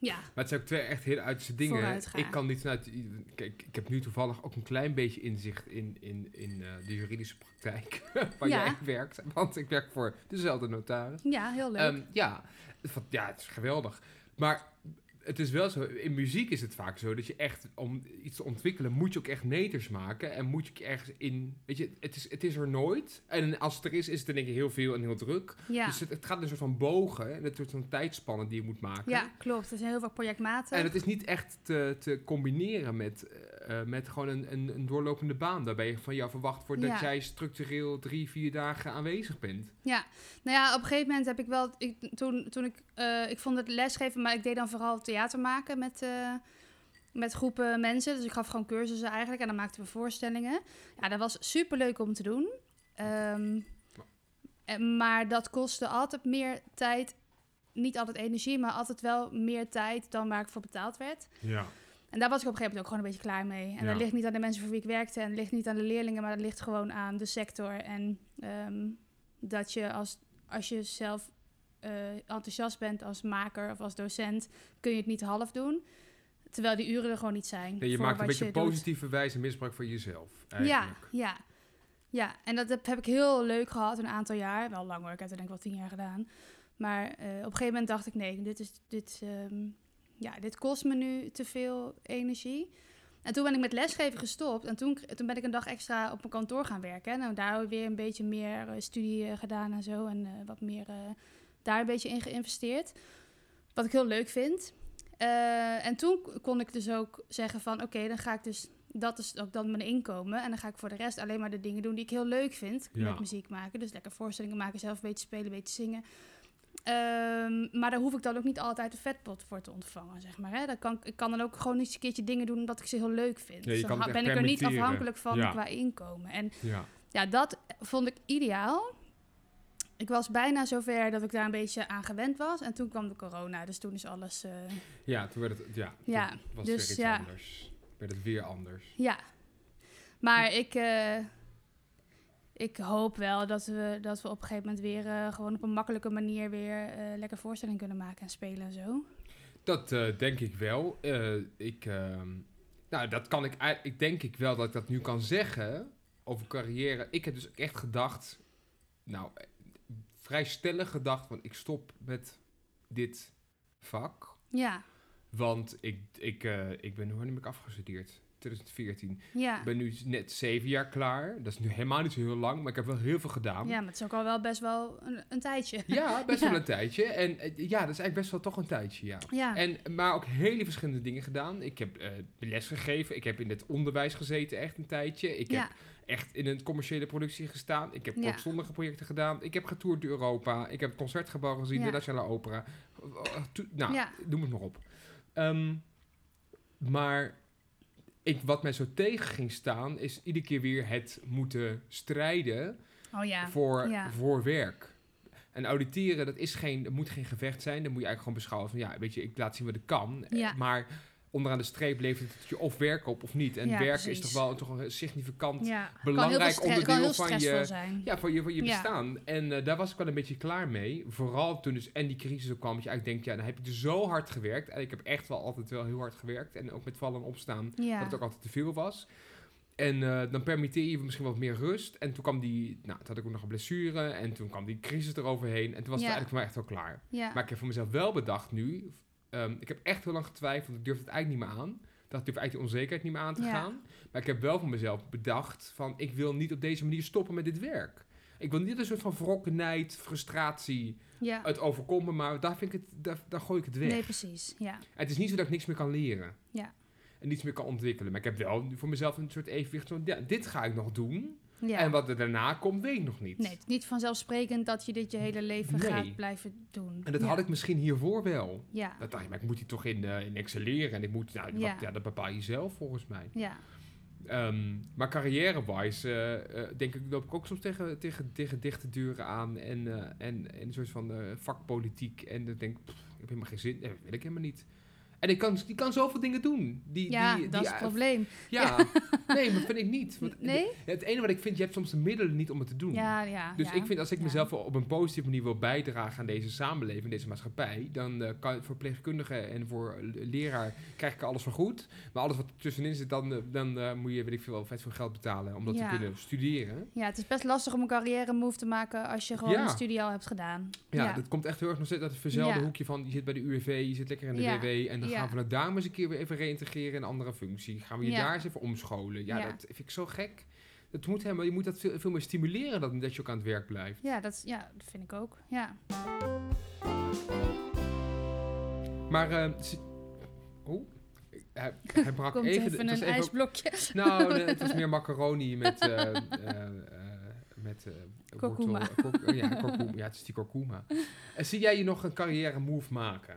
Speaker 2: Ja,
Speaker 3: Maar het zijn ook twee echt hele uiterste dingen. hè.
Speaker 2: Vooruitgaan.
Speaker 3: Ik kan niet vanuit. Kijk, ik heb nu toevallig ook een klein beetje inzicht in, in, in eh, de juridische praktijk waar
Speaker 2: Ja.
Speaker 3: jij werkt. Want ik werk voor dezelfde notaris.
Speaker 2: ja heel leuk.
Speaker 3: Ehm, ja. Van- ja, het is geweldig. Maar het is wel zo, in muziek is het vaak zo dat je echt, om iets te ontwikkelen, moet je ook echt meters maken. En moet je ook ergens in, weet je, het is, het is er nooit. En als het er is, is het in één keer heel veel en heel druk.
Speaker 2: ja.
Speaker 3: Dus het, het gaat in een soort van bogen, en het soort van tijdspannen die je moet maken.
Speaker 2: ja, klopt. Er zijn heel veel projectmatig.
Speaker 3: En het is niet echt te, te combineren met, eh, eh, met gewoon een, een, een doorlopende baan. Daarbij je van jou verwacht wordt
Speaker 2: Ja.
Speaker 3: dat jij structureel drie, vier dagen aanwezig bent.
Speaker 2: Nou ja, op een gegeven moment heb ik wel... Ik, toen, toen ik, eh, ik vond het lesgeven, maar ik deed dan vooral theater maken met, eh, met groepen mensen. Dus ik gaf gewoon cursussen eigenlijk en dan maakten we voorstellingen. Ja, dat was superleuk om te doen. Ehm, en- maar dat kostte altijd meer tijd. Niet altijd energie, maar altijd wel meer tijd dan waar ik voor betaald werd.
Speaker 3: Ja.
Speaker 2: En daar was ik op een gegeven moment ook gewoon een beetje klaar mee. En
Speaker 3: Ja.
Speaker 2: dat ligt niet aan de mensen voor wie ik werkte. En dat ligt niet aan de leerlingen, maar dat ligt gewoon aan de sector. En ehm, dat je als, als je zelf eh, enthousiast bent als maker of als docent, kun je het niet half doen. Terwijl die uren er gewoon niet zijn.
Speaker 3: Nee, je
Speaker 2: voor
Speaker 3: maakt een
Speaker 2: wat
Speaker 3: beetje
Speaker 2: doet.
Speaker 3: positieve wijze misbruik van jezelf.
Speaker 2: Ja,
Speaker 3: Eigenlijk.
Speaker 2: ja. Ja, en dat heb, heb ik heel leuk gehad een aantal jaar. Wel lang hoor, ik heb het denk ik wel tien jaar gedaan. Maar eh, op een gegeven moment dacht ik, nee, dit, is, dit, ehm, ja, dit kost me nu te veel energie. En toen ben ik met lesgeven gestopt. En toen, toen ben ik een dag extra op mijn kantoor gaan werken. Nou, daar heb ik weer een beetje meer eh, studie eh, gedaan en zo. En eh, wat meer eh, daar een beetje in geïnvesteerd. Wat ik heel leuk vind. Eh, en toen k- kon ik dus ook zeggen van... oké, dan ga ik dus... dat is ook dan mijn inkomen. En dan ga ik voor de rest alleen maar de dingen doen die ik heel leuk vind.
Speaker 3: Ja.
Speaker 2: Met muziek maken. Dus lekker voorstellingen maken, zelf een beetje spelen, een beetje zingen. Ehm, maar daar hoef ik dan ook niet altijd de vetpot voor te ontvangen, zeg maar. Hè? Dan kan, ik- ik kan dan ook gewoon eens een keertje dingen doen omdat ik ze heel leuk vind.
Speaker 3: Ja, je
Speaker 2: dus dan
Speaker 3: kan het
Speaker 2: ha-
Speaker 3: echt
Speaker 2: ben ik er niet
Speaker 3: permitteren.
Speaker 2: afhankelijk van
Speaker 3: Ja.
Speaker 2: qua inkomen. En
Speaker 3: Ja.
Speaker 2: ja, dat vond ik ideaal. Ik was bijna zover dat ik daar een beetje aan gewend was. En toen kwam de corona, dus toen is alles... eh,
Speaker 3: Ja, toen werd het, ja,
Speaker 2: Ja,
Speaker 3: toen was
Speaker 2: dus
Speaker 3: het weer
Speaker 2: ja.
Speaker 3: iets anders. Werd het weer anders.
Speaker 2: ja. Maar ik, eh, ik hoop wel dat we, dat we op een gegeven moment weer... eh, gewoon op een makkelijke manier weer eh, lekker voorstelling kunnen maken en spelen en zo.
Speaker 3: Dat eh, denk ik wel. Eh, ik, ehm, nou, dat kan ik, ei- ik denk ik wel dat ik dat nu kan zeggen over carrière. Ik heb dus echt gedacht, nou, eh, vrij stellig gedacht, want ik stop met dit vak.
Speaker 2: Ja,
Speaker 3: Want ik, ik, eh, ik ben, wanneer ben ik afgestudeerd? 2014.
Speaker 2: ja.
Speaker 3: Ik ben nu net zeven jaar klaar. Dat is nu helemaal niet zo heel lang, maar ik heb wel heel veel gedaan.
Speaker 2: Ja, maar het is ook al wel best wel een, een tijdje.
Speaker 3: Ja, best
Speaker 2: Ja.
Speaker 3: wel een tijdje. En eh, ja, dat is eigenlijk best wel toch een tijdje, ja.
Speaker 2: Ja,
Speaker 3: En, maar ook hele verschillende dingen gedaan. Ik heb eh les gegeven. Ik heb in het onderwijs gezeten echt een tijdje. Ik
Speaker 2: ja,
Speaker 3: heb echt in een commerciële productie gestaan. Ik heb
Speaker 2: Ja.
Speaker 3: kortzondige projecten gedaan. Ik heb getoerd door Europa. Ik heb het Concertgebouw gezien,
Speaker 2: Ja.
Speaker 3: de Nationale Opera. Eh, to- nou,
Speaker 2: Ja.
Speaker 3: noem het maar op. Ehm, maar ik, wat mij zo tegen ging staan... is iedere keer weer het moeten strijden
Speaker 2: oh ja.
Speaker 3: voor,
Speaker 2: ja.
Speaker 3: voor werk. En auditeren, dat, is geen, dat moet geen gevecht zijn. Dan moet je eigenlijk gewoon beschouwen van, ja, weet je, ik laat zien wat ik kan. Eh,
Speaker 2: Ja.
Speaker 3: Maar onderaan de streep levert het je of werk op of niet. En
Speaker 2: Ja,
Speaker 3: werk is
Speaker 2: precies.
Speaker 3: toch wel toch een significant
Speaker 2: ja. Kan heel veel
Speaker 3: belangrijk
Speaker 2: stre- kan
Speaker 3: onderdeel
Speaker 2: heel
Speaker 3: van je-
Speaker 2: stressvol zijn.
Speaker 3: ja, van je, van je
Speaker 2: Ja.
Speaker 3: bestaan. En eh, daar was ik wel een beetje klaar mee. Vooral toen dus en die crisis ook kwam. Dat je eigenlijk denkt, ja, dan heb ik dus zo hard gewerkt. En ik heb echt wel altijd wel heel hard gewerkt. En ook met vallen en opstaan
Speaker 2: Ja.
Speaker 3: dat het ook altijd te veel was. En eh, dan permitteer je misschien wat meer rust. En toen kwam die, nou, toen had ik ook nog een blessure. En toen kwam die crisis eroverheen. En toen was
Speaker 2: Ja.
Speaker 3: het eigenlijk voor mij echt wel klaar.
Speaker 2: Ja.
Speaker 3: Maar ik heb voor mezelf wel bedacht nu. ehm, ik heb echt heel lang getwijfeld. Ik durf het eigenlijk niet meer aan. Dat durf ik eigenlijk die onzekerheid niet meer aan te
Speaker 2: Ja.
Speaker 3: gaan. Maar ik heb wel voor mezelf bedacht van... ik wil niet op deze manier stoppen met dit werk. Ik wil niet een soort van wrokkenheid, frustratie...
Speaker 2: ja.
Speaker 3: het overkomen, maar daar, vind ik het, daar, daar gooi ik het weg.
Speaker 2: Nee, precies. Ja.
Speaker 3: Het is niet zo dat ik niks meer kan leren.
Speaker 2: Ja.
Speaker 3: En niets meer kan ontwikkelen. Maar ik heb wel voor mezelf een soort evenwicht van... Ja, dit ga ik nog doen.
Speaker 2: ja.
Speaker 3: En wat er daarna komt, weet ik nog niet.
Speaker 2: Nee, het is niet vanzelfsprekend dat je dit je hele leven
Speaker 3: Nee.
Speaker 2: gaat blijven doen.
Speaker 3: En dat
Speaker 2: ja.
Speaker 3: had ik misschien hiervoor wel.
Speaker 2: Ja.
Speaker 3: Dat dacht ik, maar ik moet hier toch in, eh in excelleren. En ik moet, nou,
Speaker 2: Ja.
Speaker 3: Wat, ja, dat bepaal je zelf volgens mij.
Speaker 2: Ja.
Speaker 3: Ehm, maar carrière-wise, eh, eh, denk ik, loop ik ook soms tegen, tegen, tegen dichte deuren aan. En, eh, en, en een soort van eh, vakpolitiek. En dan denk ik, pff, ik heb helemaal geen zin. Nee, dat wil ik helemaal niet. En die kan, die kan zoveel dingen doen. Die,
Speaker 2: ja,
Speaker 3: die,
Speaker 2: dat
Speaker 3: die-
Speaker 2: is het probleem.
Speaker 3: Ja, nee, maar vind ik niet. Want
Speaker 2: Nee?
Speaker 3: Het enige wat ik vind, je hebt soms de middelen niet om het te doen.
Speaker 2: Ja, ja.
Speaker 3: Dus
Speaker 2: ja.
Speaker 3: ik vind, als ik
Speaker 2: ja.
Speaker 3: mezelf op een positieve manier wil bijdragen aan deze samenleving, deze maatschappij, dan eh, kan voor verpleegkundige en voor l- leraar krijg ik alles vergoed. Maar alles wat er tussenin zit, dan, eh, dan eh, moet je, weet ik veel, vet veel geld betalen om dat
Speaker 2: Ja.
Speaker 3: te kunnen studeren.
Speaker 2: Ja, het is best lastig om een carrière move te maken als je gewoon
Speaker 3: Ja.
Speaker 2: een studie al hebt gedaan.
Speaker 3: Ja, dat komt echt heel erg nog steeds uit het verzelde
Speaker 2: Ja.
Speaker 3: hoekje van, je zit bij de UWV, je zit lekker in de
Speaker 2: Ja.
Speaker 3: WW, en dan
Speaker 2: Ja.
Speaker 3: gaan we vanuit daar maar eens een keer weer even reïntegreren in een andere functie. Gaan we je
Speaker 2: Ja.
Speaker 3: daar eens even omscholen. Ja,
Speaker 2: Ja.
Speaker 3: dat vind ik zo gek. Dat moet helemaal, je moet dat veel, veel meer stimuleren dan dat je ook aan het werk blijft.
Speaker 2: Ja, dat, is- ja, dat vind ik ook. Ja.
Speaker 3: Maar, eh, ze- oh, hij, hij brak
Speaker 2: Komt
Speaker 3: even...
Speaker 2: even,
Speaker 3: de- het was
Speaker 2: een ijsblokje.
Speaker 3: Nou, nee, het was meer macaroni met... eh, eh, eh, met eh, wortel-
Speaker 2: Kurkuma.
Speaker 3: eh, kurk- eh, ja, kurkuma. Ja, het is die kurkuma. En zie jij je nog een carrière move maken?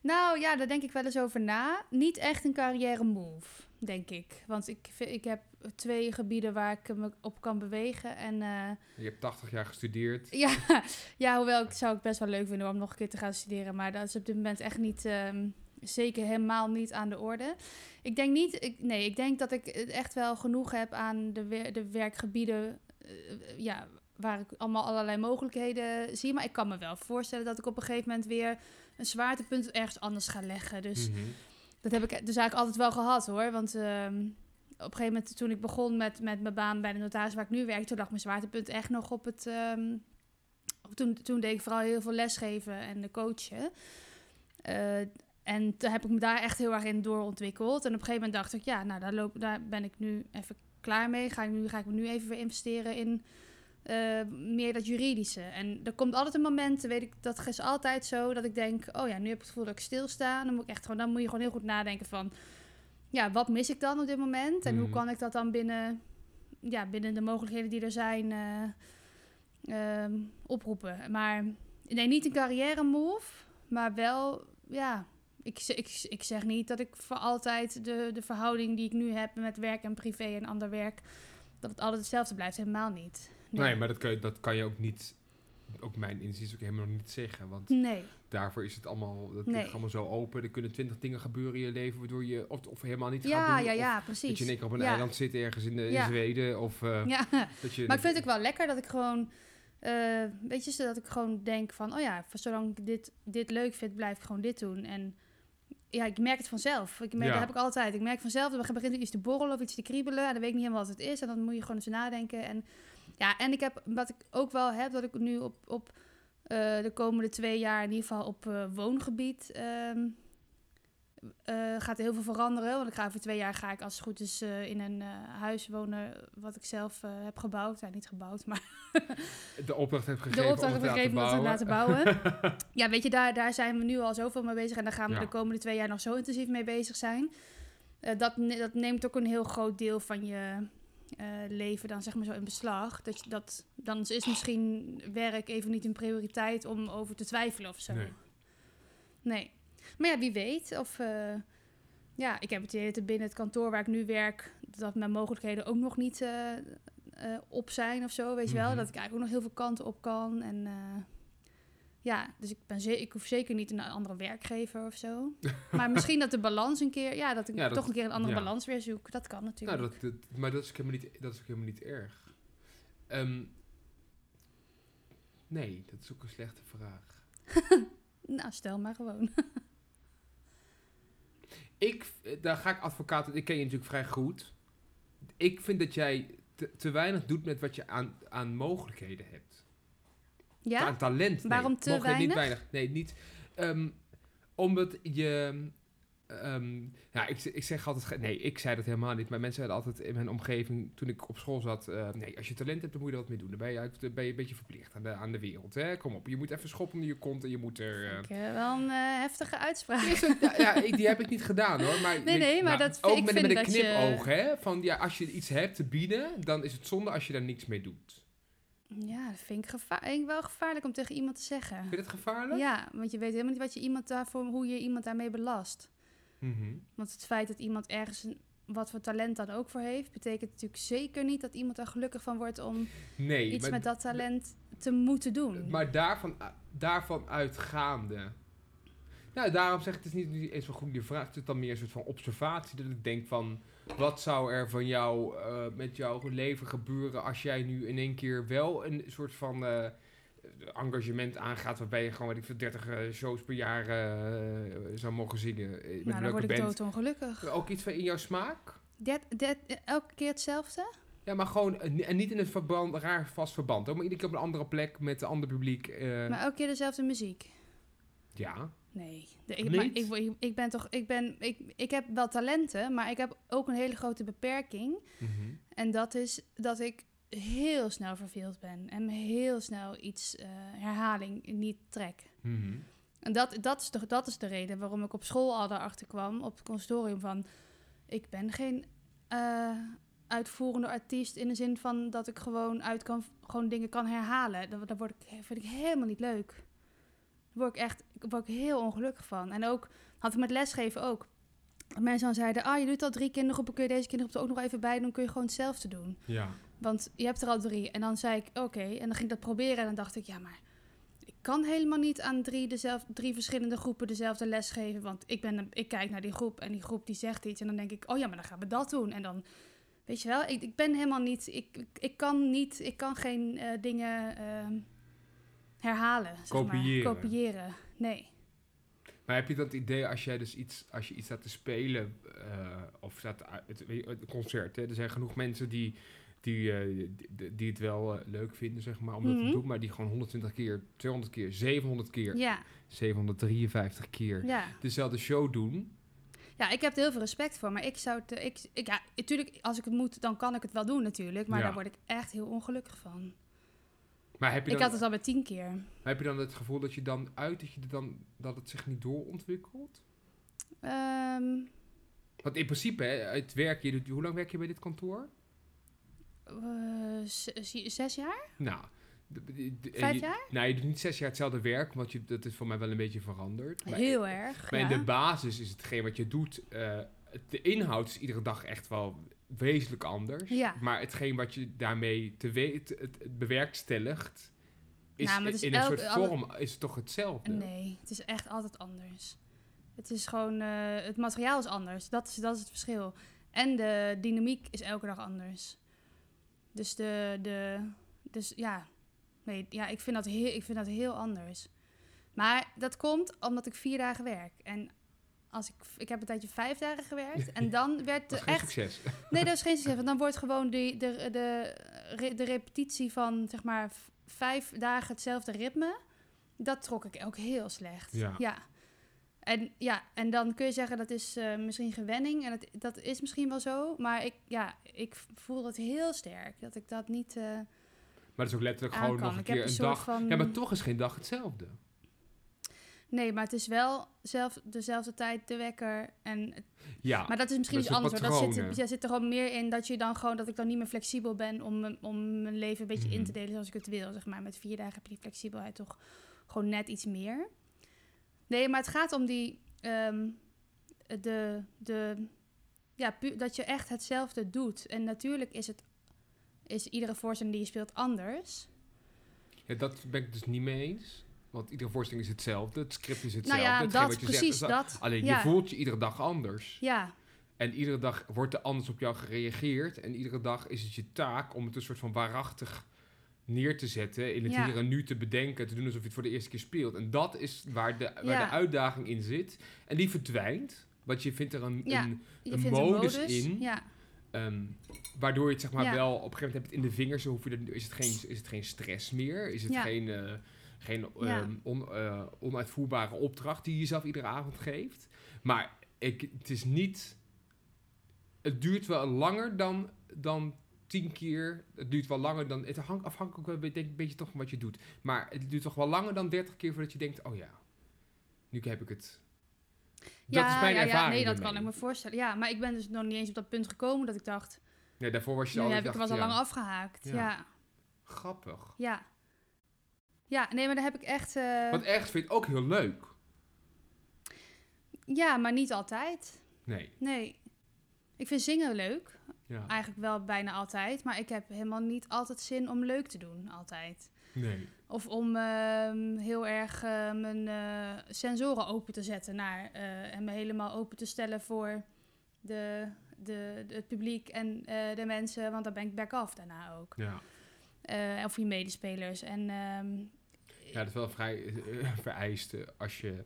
Speaker 2: Nou ja, daar denk ik wel eens over na. Niet echt een carrière move, denk ik. Want ik, vi- ik heb twee gebieden waar ik me op kan bewegen. En eh,
Speaker 3: Je hebt 80 jaar gestudeerd.
Speaker 2: ja, ja, hoewel ik zou het best wel leuk vinden om nog een keer te gaan studeren. Maar dat is op dit moment echt niet, ehm, zeker helemaal niet aan de orde. Ik denk niet, ik, nee, ik denk dat ik het echt wel genoeg heb aan de, wer- de werkgebieden. eh, ja, waar ik allemaal allerlei mogelijkheden zie. Maar ik kan me wel voorstellen dat ik op een gegeven moment weer een zwaartepunt ergens anders ga leggen. Dus
Speaker 3: Mhm.
Speaker 2: dat heb ik dus eigenlijk altijd wel gehad hoor. Want ehm, op een gegeven moment toen ik begon met, met mijn baan bij de notaris waar ik nu werk, toen lag mijn zwaartepunt echt nog op het. ehm, op- toen, toen deed ik vooral heel veel lesgeven en de coachen. Eh, en toen heb ik me daar echt heel erg in doorontwikkeld. En op een gegeven moment dacht ik, ja, nou daar, loop, daar ben ik nu even klaar mee. Ga ik, nu, ga ik me nu even weer investeren in eh, meer dat juridische. En er komt altijd een moment, weet ik, dat is altijd zo, dat ik denk, oh ja, nu heb ik het gevoel dat ik stilsta. Dan moet, ik echt gewoon, dan moet je gewoon heel goed nadenken van, ja, wat mis ik dan op dit moment? En hoe
Speaker 3: Mhm.
Speaker 2: kan ik dat dan binnen, ja, binnen de mogelijkheden die er zijn eh, ehm, oproepen? Maar nee, niet een carrière move, maar wel, ja... Ik, z- ik, z- ik zeg niet dat ik voor altijd de, de verhouding die ik nu heb met werk en privé en ander werk, dat het altijd hetzelfde blijft. Helemaal niet.
Speaker 3: Nee, maar dat kan, je- dat kan je ook niet... Ook mijn inziens ook helemaal niet zeggen. Want
Speaker 2: Nee.
Speaker 3: daarvoor is het allemaal, dat
Speaker 2: Nee.
Speaker 3: ligt allemaal zo open. Er kunnen twintig dingen gebeuren in je leven... waardoor je of, of helemaal niet gaat
Speaker 2: Ja,
Speaker 3: doen.
Speaker 2: ja,
Speaker 3: of
Speaker 2: ja,
Speaker 3: dat
Speaker 2: precies.
Speaker 3: je in één keer op een
Speaker 2: Ja.
Speaker 3: eiland zit ergens in, de, in
Speaker 2: Ja.
Speaker 3: Zweden. Of, eh,
Speaker 2: Ja,
Speaker 3: dat je,
Speaker 2: maar ik vind het ook wel lekker dat ik gewoon, eh, weet je, dat ik gewoon denk van, oh ja, voor zolang ik dit, dit leuk vind, blijf ik gewoon dit doen. En ja, ik merk het vanzelf. Ik merk,
Speaker 3: Ja.
Speaker 2: Dat heb ik altijd. Ik merk vanzelf, dan begint er iets te borrelen of iets te kriebelen. En dan weet ik niet helemaal wat het is. En dan moet je gewoon eens nadenken. En ja, en ik heb, wat ik ook wel heb, dat ik nu op, op eh, de komende twee jaar in ieder geval op eh, woongebied... ehm, eh, gaat er heel veel veranderen. Want ik ga over twee jaar ga ik als het goed is eh, in een eh, huis wonen wat ik zelf eh, heb gebouwd. Ja, niet gebouwd, maar
Speaker 3: de opdracht hebt gegeven
Speaker 2: de opdracht
Speaker 3: om het
Speaker 2: gegeven om
Speaker 3: te
Speaker 2: het te laten
Speaker 3: laten
Speaker 2: bouwen. ja, weet je, daar, daar zijn we nu al zoveel mee bezig. En daar gaan we
Speaker 3: Ja.
Speaker 2: de komende twee jaar nog zo intensief mee bezig zijn. Eh, dat, ne- dat neemt ook een heel groot deel van je eh, leven dan zeg maar zo in beslag. Dat, je dat, dan is misschien werk even niet een prioriteit om over te twijfelen of zo.
Speaker 3: Nee.
Speaker 2: Nee. Maar ja, wie weet. Of, eh, ja, ik heb het idee dat er binnen het kantoor waar ik nu werk... dat mijn mogelijkheden ook nog niet eh, eh, op zijn of zo, weet je wel.
Speaker 3: Mhm.
Speaker 2: Dat ik eigenlijk ook nog heel veel kanten op kan. En eh, ja, dus ik, ben ze- ik hoef zeker niet een andere werkgever of zo. maar misschien dat de balans een keer... Ja, dat ik
Speaker 3: Ja, dat-
Speaker 2: toch een keer een andere
Speaker 3: ja.
Speaker 2: balans weer zoek. Dat kan natuurlijk.
Speaker 3: Nou, dat, dat- maar dat is, ook helemaal niet, dat is ook helemaal niet erg. Ehm, nee, dat is ook een slechte vraag.
Speaker 2: Nou, stel maar gewoon.
Speaker 3: Ik, eh, daar ga ik advocaat, ik ken je natuurlijk vrij goed. Ik vind dat jij te, te weinig doet met wat je aan, aan mogelijkheden hebt.
Speaker 2: ja?
Speaker 3: Aan talent. nee.
Speaker 2: Waarom te
Speaker 3: Mogelijkheden Niet weinig. Nee, niet. ehm, omdat je. ehm ja, ik, ik zeg altijd. ge- Nee, ik zei dat helemaal niet. Maar mensen zeiden altijd in mijn omgeving. toen ik op school zat. eh, nee, als je talent hebt, dan moet je er wat mee doen. Dan ben je, uit- dan ben je een beetje verplicht aan de, aan de wereld. Hè? Kom op. Je moet even schoppen onder je kont. En je moet er. eh,
Speaker 2: Ik, eh, wel een eh, heftige uitspraak.
Speaker 3: is het- ja, ja, ik- die heb ik niet gedaan hoor. Maar, nou,
Speaker 2: Nee, nee, maar dat-
Speaker 3: ook
Speaker 2: ik
Speaker 3: met,
Speaker 2: vind
Speaker 3: met een
Speaker 2: dat je-
Speaker 3: knipoog, hè? Van ja, als je iets hebt te bieden, dan is het zonde als je daar niks mee doet.
Speaker 2: Ja, dat vind ik, gevaar- vind ik wel gevaarlijk om tegen iemand te zeggen.
Speaker 3: Vind je dat gevaarlijk?
Speaker 2: Ja, want je weet helemaal niet wat je iemand daarvoor, hoe je iemand daarmee belast.
Speaker 3: Mhm.
Speaker 2: Want het feit dat iemand ergens een- wat voor talent dan ook voor heeft, betekent natuurlijk zeker niet dat iemand er gelukkig van wordt om
Speaker 3: Nee,
Speaker 2: iets
Speaker 3: maar
Speaker 2: met dat Mm-hmm. talent te moeten doen.
Speaker 3: Maar daarvan, daarvan uitgaande. Nou, daarom zeg ik, het is niet, niet eens een goede vraag. Het is dan meer een soort van observatie. Dat ik denk van, wat zou er van jou, eh, met jouw leven gebeuren als jij nu in één keer wel een soort van eh, engagement aangaat, waarbij je gewoon, weet ik veel, 30 eh, shows per jaar eh, zou mogen zingen. eh,
Speaker 2: nou,
Speaker 3: Met
Speaker 2: dan
Speaker 3: een
Speaker 2: word
Speaker 3: leuke
Speaker 2: ik
Speaker 3: band.
Speaker 2: doodongelukkig.
Speaker 3: Ook iets van in jouw smaak?
Speaker 2: Dat, dat, elke keer hetzelfde?
Speaker 3: Ja, maar gewoon, eh, ni- en niet in een verband, raar vast verband. Hoor. Maar iedere keer op een andere plek met een ander publiek. eh,
Speaker 2: Maar elke keer dezelfde muziek?
Speaker 3: ja.
Speaker 2: Nee. De- ik, maar
Speaker 3: Niet?
Speaker 2: ik, ik, ik ben toch... Ik, ben, ik, ik heb wel talenten, maar ik heb ook een hele grote beperking.
Speaker 3: Mhm.
Speaker 2: En dat is dat ik heel snel verveeld ben. En me heel snel iets, eh, herhaling, niet trek.
Speaker 3: Mhm.
Speaker 2: En dat, dat, is de, dat is de reden waarom ik op school al daarachter kwam, op het consortium, van ik ben geen eh, uitvoerende artiest in de zin van dat ik gewoon, uit kan, gewoon dingen kan herhalen. Dat, dat word ik, vind ik helemaal niet leuk. Daar word ik echt daar word ik heel ongelukkig van. En ook had ik met lesgeven ook. Dat mensen dan zeiden, ah, je doet al drie kindergroepen, kun je deze kindergroep er ook nog even bij doen, dan kun je gewoon hetzelfde doen.
Speaker 3: Ja.
Speaker 2: Want je hebt er al drie. En dan zei ik, oké. En dan ging ik dat proberen. En dan dacht ik, ja, maar ik kan helemaal niet aan drie, dezelfde, drie verschillende groepen dezelfde les geven. Want ik, ben, een- ik kijk naar die groep en die groep die zegt iets. En dan denk ik, oh ja, maar dan gaan we dat doen. En dan, weet je wel, ik, ik ben helemaal niet... Ik, ik, ik kan niet, ik kan geen eh, dingen ehm, herhalen, zeg
Speaker 3: Kopiëren.
Speaker 2: maar. Kopiëren. Nee.
Speaker 3: Maar heb je dat idee als jij dus iets, als je iets staat te spelen, eh, of staat te uit- het, weet je, het concert, hè, er zijn genoeg mensen die, die, eh, die, die het wel eh, leuk vinden, zeg maar, om dat
Speaker 2: Mhm.
Speaker 3: te doen, maar die gewoon 120 keer, 200 keer, 700 keer,
Speaker 2: Ja,
Speaker 3: 753 keer
Speaker 2: ja.
Speaker 3: dezelfde show doen.
Speaker 2: Ja, ik heb er heel veel respect voor. Maar ik zou het... eh, Ik, ik, ja, natuurlijk, als ik het moet, dan kan ik het wel doen natuurlijk. Maar
Speaker 3: Ja.
Speaker 2: daar word ik echt heel ongelukkig van.
Speaker 3: Maar heb
Speaker 2: Ik
Speaker 3: je, dan,
Speaker 2: had het al bij tien keer.
Speaker 3: heb je dan het gevoel dat je dan uit, dat, je er dan, dat het zich niet doorontwikkelt?
Speaker 2: Ehm,
Speaker 3: Want in principe, hè, het werk, je doet, hoe lang werk je bij dit kantoor?
Speaker 2: eh, z- z- zes jaar?
Speaker 3: Nou, d- d- d- en
Speaker 2: Vijf
Speaker 3: je-
Speaker 2: jaar?
Speaker 3: Nou, je doet niet zes jaar hetzelfde werk, want je, dat is voor mij wel een beetje veranderd. Maar-
Speaker 2: Heel erg.
Speaker 3: Maar
Speaker 2: ja.
Speaker 3: in de basis is hetgeen wat je doet, eh, het- de inhoud is iedere dag echt wel wezenlijk anders.
Speaker 2: Ja.
Speaker 3: Maar hetgeen wat je daarmee te weet, het, het bewerkstelligt, is
Speaker 2: Nou, maar het is
Speaker 3: in een
Speaker 2: elk-
Speaker 3: soort
Speaker 2: alle-
Speaker 3: vorm is het toch hetzelfde.
Speaker 2: Nee, het is echt altijd anders. Het is gewoon... eh, het materiaal is anders. Dat is, dat is het verschil. En de dynamiek is elke dag anders. Dus de... de dus ja... Nee, ja, ik vind, dat heel, ik vind dat heel anders. Maar dat komt omdat ik vier dagen werk. En als ik, ik heb een tijdje vijf dagen gewerkt. En dan werd
Speaker 3: Dat
Speaker 2: de
Speaker 3: is geen
Speaker 2: echt
Speaker 3: succes.
Speaker 2: Nee, dat is geen succes. Want dan wordt gewoon de, de, de, re- de repetitie van zeg maar v- vijf dagen hetzelfde ritme. Dat trok ik ook heel slecht.
Speaker 3: Ja.
Speaker 2: En, ja, en dan kun je zeggen dat is eh, misschien gewenning. En dat, dat is misschien wel zo. Maar ik, ja, ik voel dat heel sterk. Dat ik dat niet eh,
Speaker 3: Maar dat is ook letterlijk
Speaker 2: aan
Speaker 3: gewoon
Speaker 2: Ah, kan.
Speaker 3: nog een
Speaker 2: ik heb
Speaker 3: keer
Speaker 2: een
Speaker 3: een
Speaker 2: soort
Speaker 3: dag.
Speaker 2: van...
Speaker 3: Ja, maar toch is geen dag hetzelfde.
Speaker 2: Nee, maar het is wel zelf, dezelfde tijd de wekker. En
Speaker 3: Ja,
Speaker 2: Maar dat is misschien
Speaker 3: Dat
Speaker 2: iets
Speaker 3: is het
Speaker 2: anders. hoor. Dat zit,
Speaker 3: patronen.
Speaker 2: er- ja, zit er gewoon meer in dat je dan gewoon dat ik dan niet meer flexibel ben om, mijn- om mijn leven een beetje in te
Speaker 3: Mhm.
Speaker 2: delen zoals ik het wil. Zeg maar. Met vier dagen heb je die flexibelheid toch gewoon net iets meer. Nee, maar het gaat om die. ehm, de, de, ja, pu- dat je echt hetzelfde doet. En natuurlijk is het is iedere voorstelling die je speelt anders. Nou
Speaker 3: Ja, dat ben ik dus niet mee eens. Want iedere voorstelling is hetzelfde, het script is hetzelfde.
Speaker 2: nou ja,
Speaker 3: hetgeen
Speaker 2: dat,
Speaker 3: wat je zegt
Speaker 2: precies
Speaker 3: is dat.
Speaker 2: dat.
Speaker 3: Alleen
Speaker 2: ja,
Speaker 3: je voelt je iedere dag anders.
Speaker 2: Ja,
Speaker 3: En iedere dag wordt er anders op jou gereageerd. En iedere dag is het je taak om het een soort van waarachtig neer te zetten. In het
Speaker 2: Ja.
Speaker 3: hier en nu te bedenken. Te doen alsof je het voor de eerste keer speelt. En dat is waar de, waar
Speaker 2: Ja.
Speaker 3: de uitdaging in zit. En die verdwijnt. Want je vindt er een,
Speaker 2: Ja.
Speaker 3: een,
Speaker 2: je
Speaker 3: Een
Speaker 2: vindt een modus,
Speaker 3: modus in.
Speaker 2: Ja,
Speaker 3: ehm, waardoor je het zeg maar
Speaker 2: Ja.
Speaker 3: wel op een gegeven moment hebt het in de vingers. Hoef je er, is, het geen, is het geen stress meer? Is het
Speaker 2: Ja.
Speaker 3: geen, eh, geen
Speaker 2: Ja.
Speaker 3: ehm, on- eh, onuitvoerbare opdracht die je jezelf iedere avond geeft? Maar ik, het is niet. Het duurt wel langer dan, dan tien keer. Het duurt wel langer dan. Het hangt afhankelijk wel denk, ik, een beetje toch van wat je doet. Maar het duurt toch wel langer dan 30 keer voordat je denkt: oh ja, nu heb ik het. Dat
Speaker 2: ja,
Speaker 3: is mijn
Speaker 2: ja,
Speaker 3: ervaring.
Speaker 2: Ja, nee, dat
Speaker 3: ermee.
Speaker 2: kan ik me voorstellen. Ja, maar ik ben dus nog niet eens op dat punt gekomen dat ik dacht,
Speaker 3: Ja, daarvoor was je
Speaker 2: nu
Speaker 3: al.
Speaker 2: heb ik
Speaker 3: dacht,
Speaker 2: was al
Speaker 3: ja,
Speaker 2: lang afgehaakt.
Speaker 3: Ja.
Speaker 2: Ja. ja,
Speaker 3: Grappig.
Speaker 2: ja. nee, maar daar heb ik echt... eh,
Speaker 3: Wat echt vind ik ook heel leuk.
Speaker 2: ja, maar niet altijd.
Speaker 3: Nee.
Speaker 2: Nee. Ik vind zingen leuk.
Speaker 3: Ja.
Speaker 2: Eigenlijk wel bijna altijd. Maar ik heb helemaal niet altijd zin om leuk te doen, altijd.
Speaker 3: Nee.
Speaker 2: Of om ehm, heel erg eh, mijn eh, sensoren open te zetten naar, eh, en me helemaal open te stellen voor de, de, de- het publiek en eh, de mensen. Want dan ben ik back-off daarna ook.
Speaker 3: Ja.
Speaker 2: Eh, of je medespelers. En ehm,
Speaker 3: ja, dat is wel vrij eh, vereist eh, als je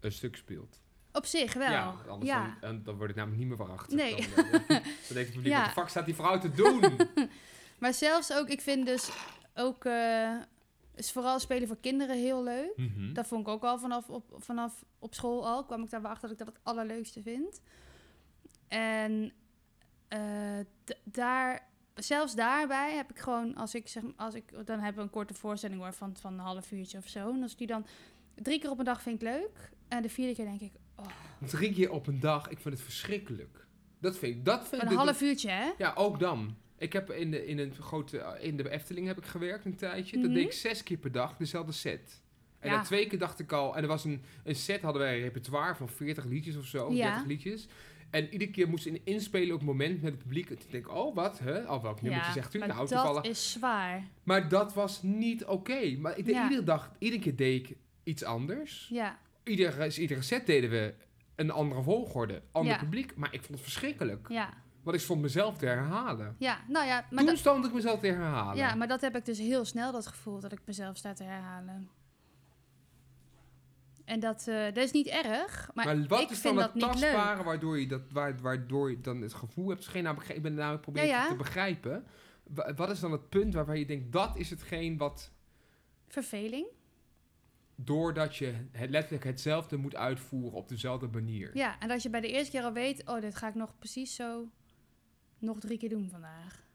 Speaker 3: een stuk speelt.
Speaker 2: op zich wel.
Speaker 3: Ja, want anders
Speaker 2: Ja.
Speaker 3: Dan, en dan word ik namelijk niet meer waarachtig.
Speaker 2: Nee.
Speaker 3: Dan, eh, dan denkt het publiek,
Speaker 2: Ja.
Speaker 3: wat de fuck staat die vrouw te doen?
Speaker 2: Maar zelfs ook, ik vind dus ook eh, is vooral spelen voor kinderen heel leuk.
Speaker 3: Mhm.
Speaker 2: Dat vond ik ook al vanaf op, vanaf op school al. Kwam ik daar wel achter dat ik dat het allerleukste vind. En eh, d- daar, zelfs daarbij heb ik gewoon, als ik zeg, als ik, dan hebben we een korte voorstelling hoor, van, van een half uurtje of zo. En als ik die dan drie keer op een dag vind ik leuk. En de vierde keer denk ik, oh,
Speaker 3: Drie keer op een dag, ik vind het verschrikkelijk. Dat vind ik, dat vind
Speaker 2: een
Speaker 3: ik...
Speaker 2: half uurtje hè?
Speaker 3: Ja, ook dan. Ik heb in de, in een grote, eh, in de Efteling heb ik gewerkt een tijdje.
Speaker 2: Mhm.
Speaker 3: Dan deed ik zes keer per dag dezelfde set. En
Speaker 2: Ja.
Speaker 3: na twee keer dacht ik al... En er was een, een set, hadden wij een repertoire van 40 liedjes of zo.
Speaker 2: Ja.
Speaker 3: 30 liedjes. En iedere keer moest in inspelen op het moment met het publiek. En toen denk ik, oh wat, hè? Al welk nummertje
Speaker 2: ja,
Speaker 3: zegt u?
Speaker 2: maar
Speaker 3: Nou,
Speaker 2: dat
Speaker 3: toevallig.
Speaker 2: is zwaar.
Speaker 3: Maar dat was niet oké. Maar ik deed
Speaker 2: Ja.
Speaker 3: iedere dag, iedere keer deed ik iets anders.
Speaker 2: Ja,
Speaker 3: Iedere, iedere set deden we een andere volgorde, ander
Speaker 2: Ja.
Speaker 3: publiek. Maar ik vond het verschrikkelijk.
Speaker 2: ja,
Speaker 3: Want ik stond mezelf te herhalen.
Speaker 2: ja. Nou ja, maar
Speaker 3: Toen
Speaker 2: dat-
Speaker 3: stond ik mezelf te herhalen.
Speaker 2: Ja, maar dat heb ik dus heel snel dat gevoel dat ik mezelf sta te herhalen. En dat, eh, dat is niet erg, maar,
Speaker 3: Maar wat
Speaker 2: ik
Speaker 3: is
Speaker 2: vind
Speaker 3: dan
Speaker 2: dat
Speaker 3: het
Speaker 2: niet leuk.
Speaker 3: tastbare waardoor je, dat, waar- waardoor je dan het gevoel hebt? Geen, nou, begrijp- ik ben namelijk probeer
Speaker 2: Ja, ja.
Speaker 3: te begrijpen. Wa- Wat is dan het punt waarbij je denkt, dat is hetgeen wat...
Speaker 2: Verveling.
Speaker 3: Doordat je het letterlijk hetzelfde moet uitvoeren op dezelfde manier.
Speaker 2: Ja, en dat je bij de eerste keer al weet, oh, dit ga ik nog precies zo nog drie keer doen vandaag.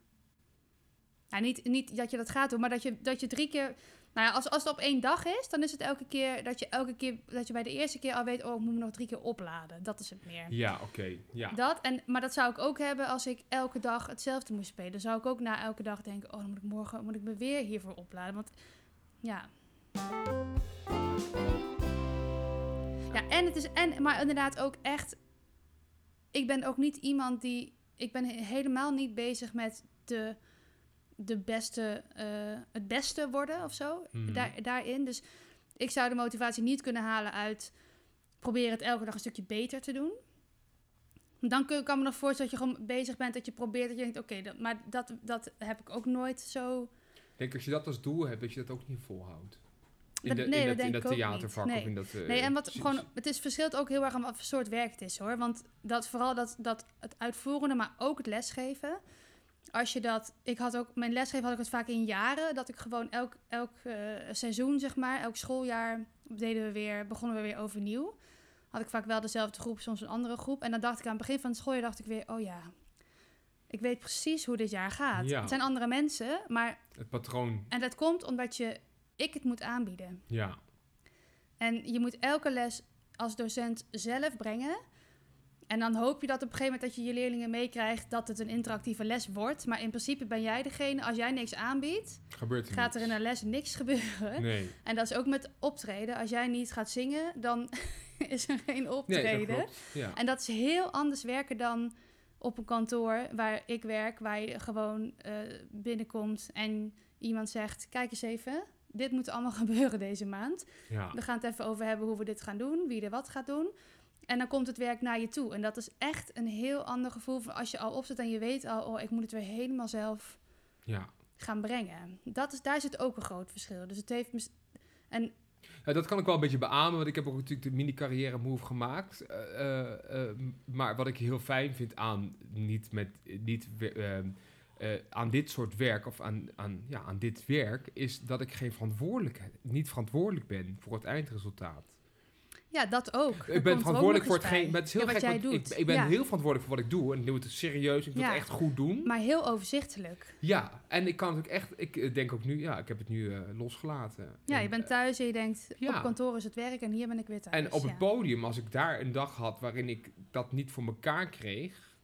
Speaker 2: Ja, niet, niet dat je dat gaat doen, maar dat je, dat je drie keer... Nou ja, als, als het op één dag is, dan is het elke keer dat je, elke keer dat je bij de eerste keer al weet, oh, ik moet me nog drie keer opladen. Dat is het meer.
Speaker 3: Ja, oké. ja.
Speaker 2: Dat, en, maar dat zou ik ook hebben als ik elke dag hetzelfde moest spelen. Dan zou ik ook na elke dag denken, oh, dan moet ik morgen moet ik me weer hiervoor opladen. Want ja. Ja, en het is, en, maar inderdaad ook echt, ik ben ook niet iemand die, ik ben he- helemaal niet bezig met de, de beste, eh, het beste worden of zo.
Speaker 3: Mhm.
Speaker 2: Daar, daarin. Dus ik zou de motivatie niet kunnen halen uit proberen het elke dag een stukje beter te doen. Dan kun, kan me nog voorstellen dat je gewoon bezig bent, dat je probeert, dat je denkt, oké, dat, maar dat, dat heb ik ook nooit zo.
Speaker 3: Ik denk als je dat als doel hebt, dat je dat ook niet volhoudt. In,
Speaker 2: Dat-
Speaker 3: de,
Speaker 2: nee,
Speaker 3: in
Speaker 2: dat
Speaker 3: dat, in
Speaker 2: denk
Speaker 3: dat
Speaker 2: ik ook
Speaker 3: theatervak
Speaker 2: niet.
Speaker 3: of in dat... eh,
Speaker 2: Nee, en wat
Speaker 3: precies.
Speaker 2: gewoon, het is, verschilt ook heel erg aan wat voor soort werk het is hoor. Want dat vooral dat, dat het uitvoerende, maar ook het lesgeven. Als je dat, ik had ook, mijn lesgeven had ik het vaak in jaren, dat ik gewoon elk, elk eh, seizoen, zeg maar, elk schooljaar deden we weer, begonnen we weer overnieuw. Had ik vaak wel dezelfde groep, soms een andere groep. En dan dacht ik aan het begin van het schooljaar, dacht ik weer, oh ja, ik weet precies hoe dit jaar gaat.
Speaker 3: Ja.
Speaker 2: Het zijn andere mensen, maar,
Speaker 3: Het patroon,
Speaker 2: en dat komt omdat je, ik het moet aanbieden.
Speaker 3: ja.
Speaker 2: En je moet elke les als docent zelf brengen. En dan hoop je dat op een gegeven moment dat je je leerlingen meekrijgt dat het een interactieve les wordt. Maar in principe ben jij degene, als jij niks aanbiedt,
Speaker 3: Gebeurt er
Speaker 2: gaat er in
Speaker 3: niets.
Speaker 2: een les niks gebeuren.
Speaker 3: Nee.
Speaker 2: En dat is ook met optreden. Als jij niet gaat zingen, dan is er geen
Speaker 3: Nee, dat
Speaker 2: optreden.
Speaker 3: klopt. Ja.
Speaker 2: en dat is heel anders werken dan op een kantoor waar ik werk, waar je gewoon eh, binnenkomt en iemand zegt: Kijk eens even, dit moet allemaal gebeuren deze maand.
Speaker 3: ja.
Speaker 2: We gaan het even over hebben hoe we dit gaan doen, wie er wat gaat doen. En dan komt het werk naar je toe. En dat is echt een heel ander gevoel van als je al opzet en je weet al, oh, ik moet het weer helemaal zelf
Speaker 3: ja.
Speaker 2: gaan brengen. Dat is, daar zit ook een groot verschil. Dus het heeft. mis- En
Speaker 3: Ja, Eh, dat kan ik wel een beetje beamen, want ik heb ook natuurlijk de mini-carrière move gemaakt. Eh, eh, eh, maar wat ik heel fijn vind aan, niet met, niet, we- ehm, eh, aan dit soort werk, of aan, aan, ja, aan dit werk, is dat ik geen verantwoordelijkheid, niet verantwoordelijk ben voor het eindresultaat.
Speaker 2: ja, dat ook. Dat komt er ook
Speaker 3: ik
Speaker 2: nog
Speaker 3: ben verantwoordelijk voor
Speaker 2: eens bij.
Speaker 3: hetgeen, maar het is heel
Speaker 2: Ja, wat
Speaker 3: gek,
Speaker 2: jij
Speaker 3: want
Speaker 2: doet.
Speaker 3: Ik, ik ben
Speaker 2: Ja,
Speaker 3: heel verantwoordelijk voor wat ik doe, en ik doe het serieus, ik wil
Speaker 2: Ja.
Speaker 3: het echt goed doen.
Speaker 2: Maar heel overzichtelijk.
Speaker 3: ja, en ik kan natuurlijk echt, ik eh, denk ook nu, ja, ik heb het nu eh, losgelaten.
Speaker 2: Ja,
Speaker 3: En,
Speaker 2: je bent thuis en je denkt,
Speaker 3: ja.
Speaker 2: op kantoor is het werk en hier ben ik weer thuis.
Speaker 3: En op
Speaker 2: ja.
Speaker 3: het podium, als ik daar een dag had waarin ik dat niet voor elkaar kreeg,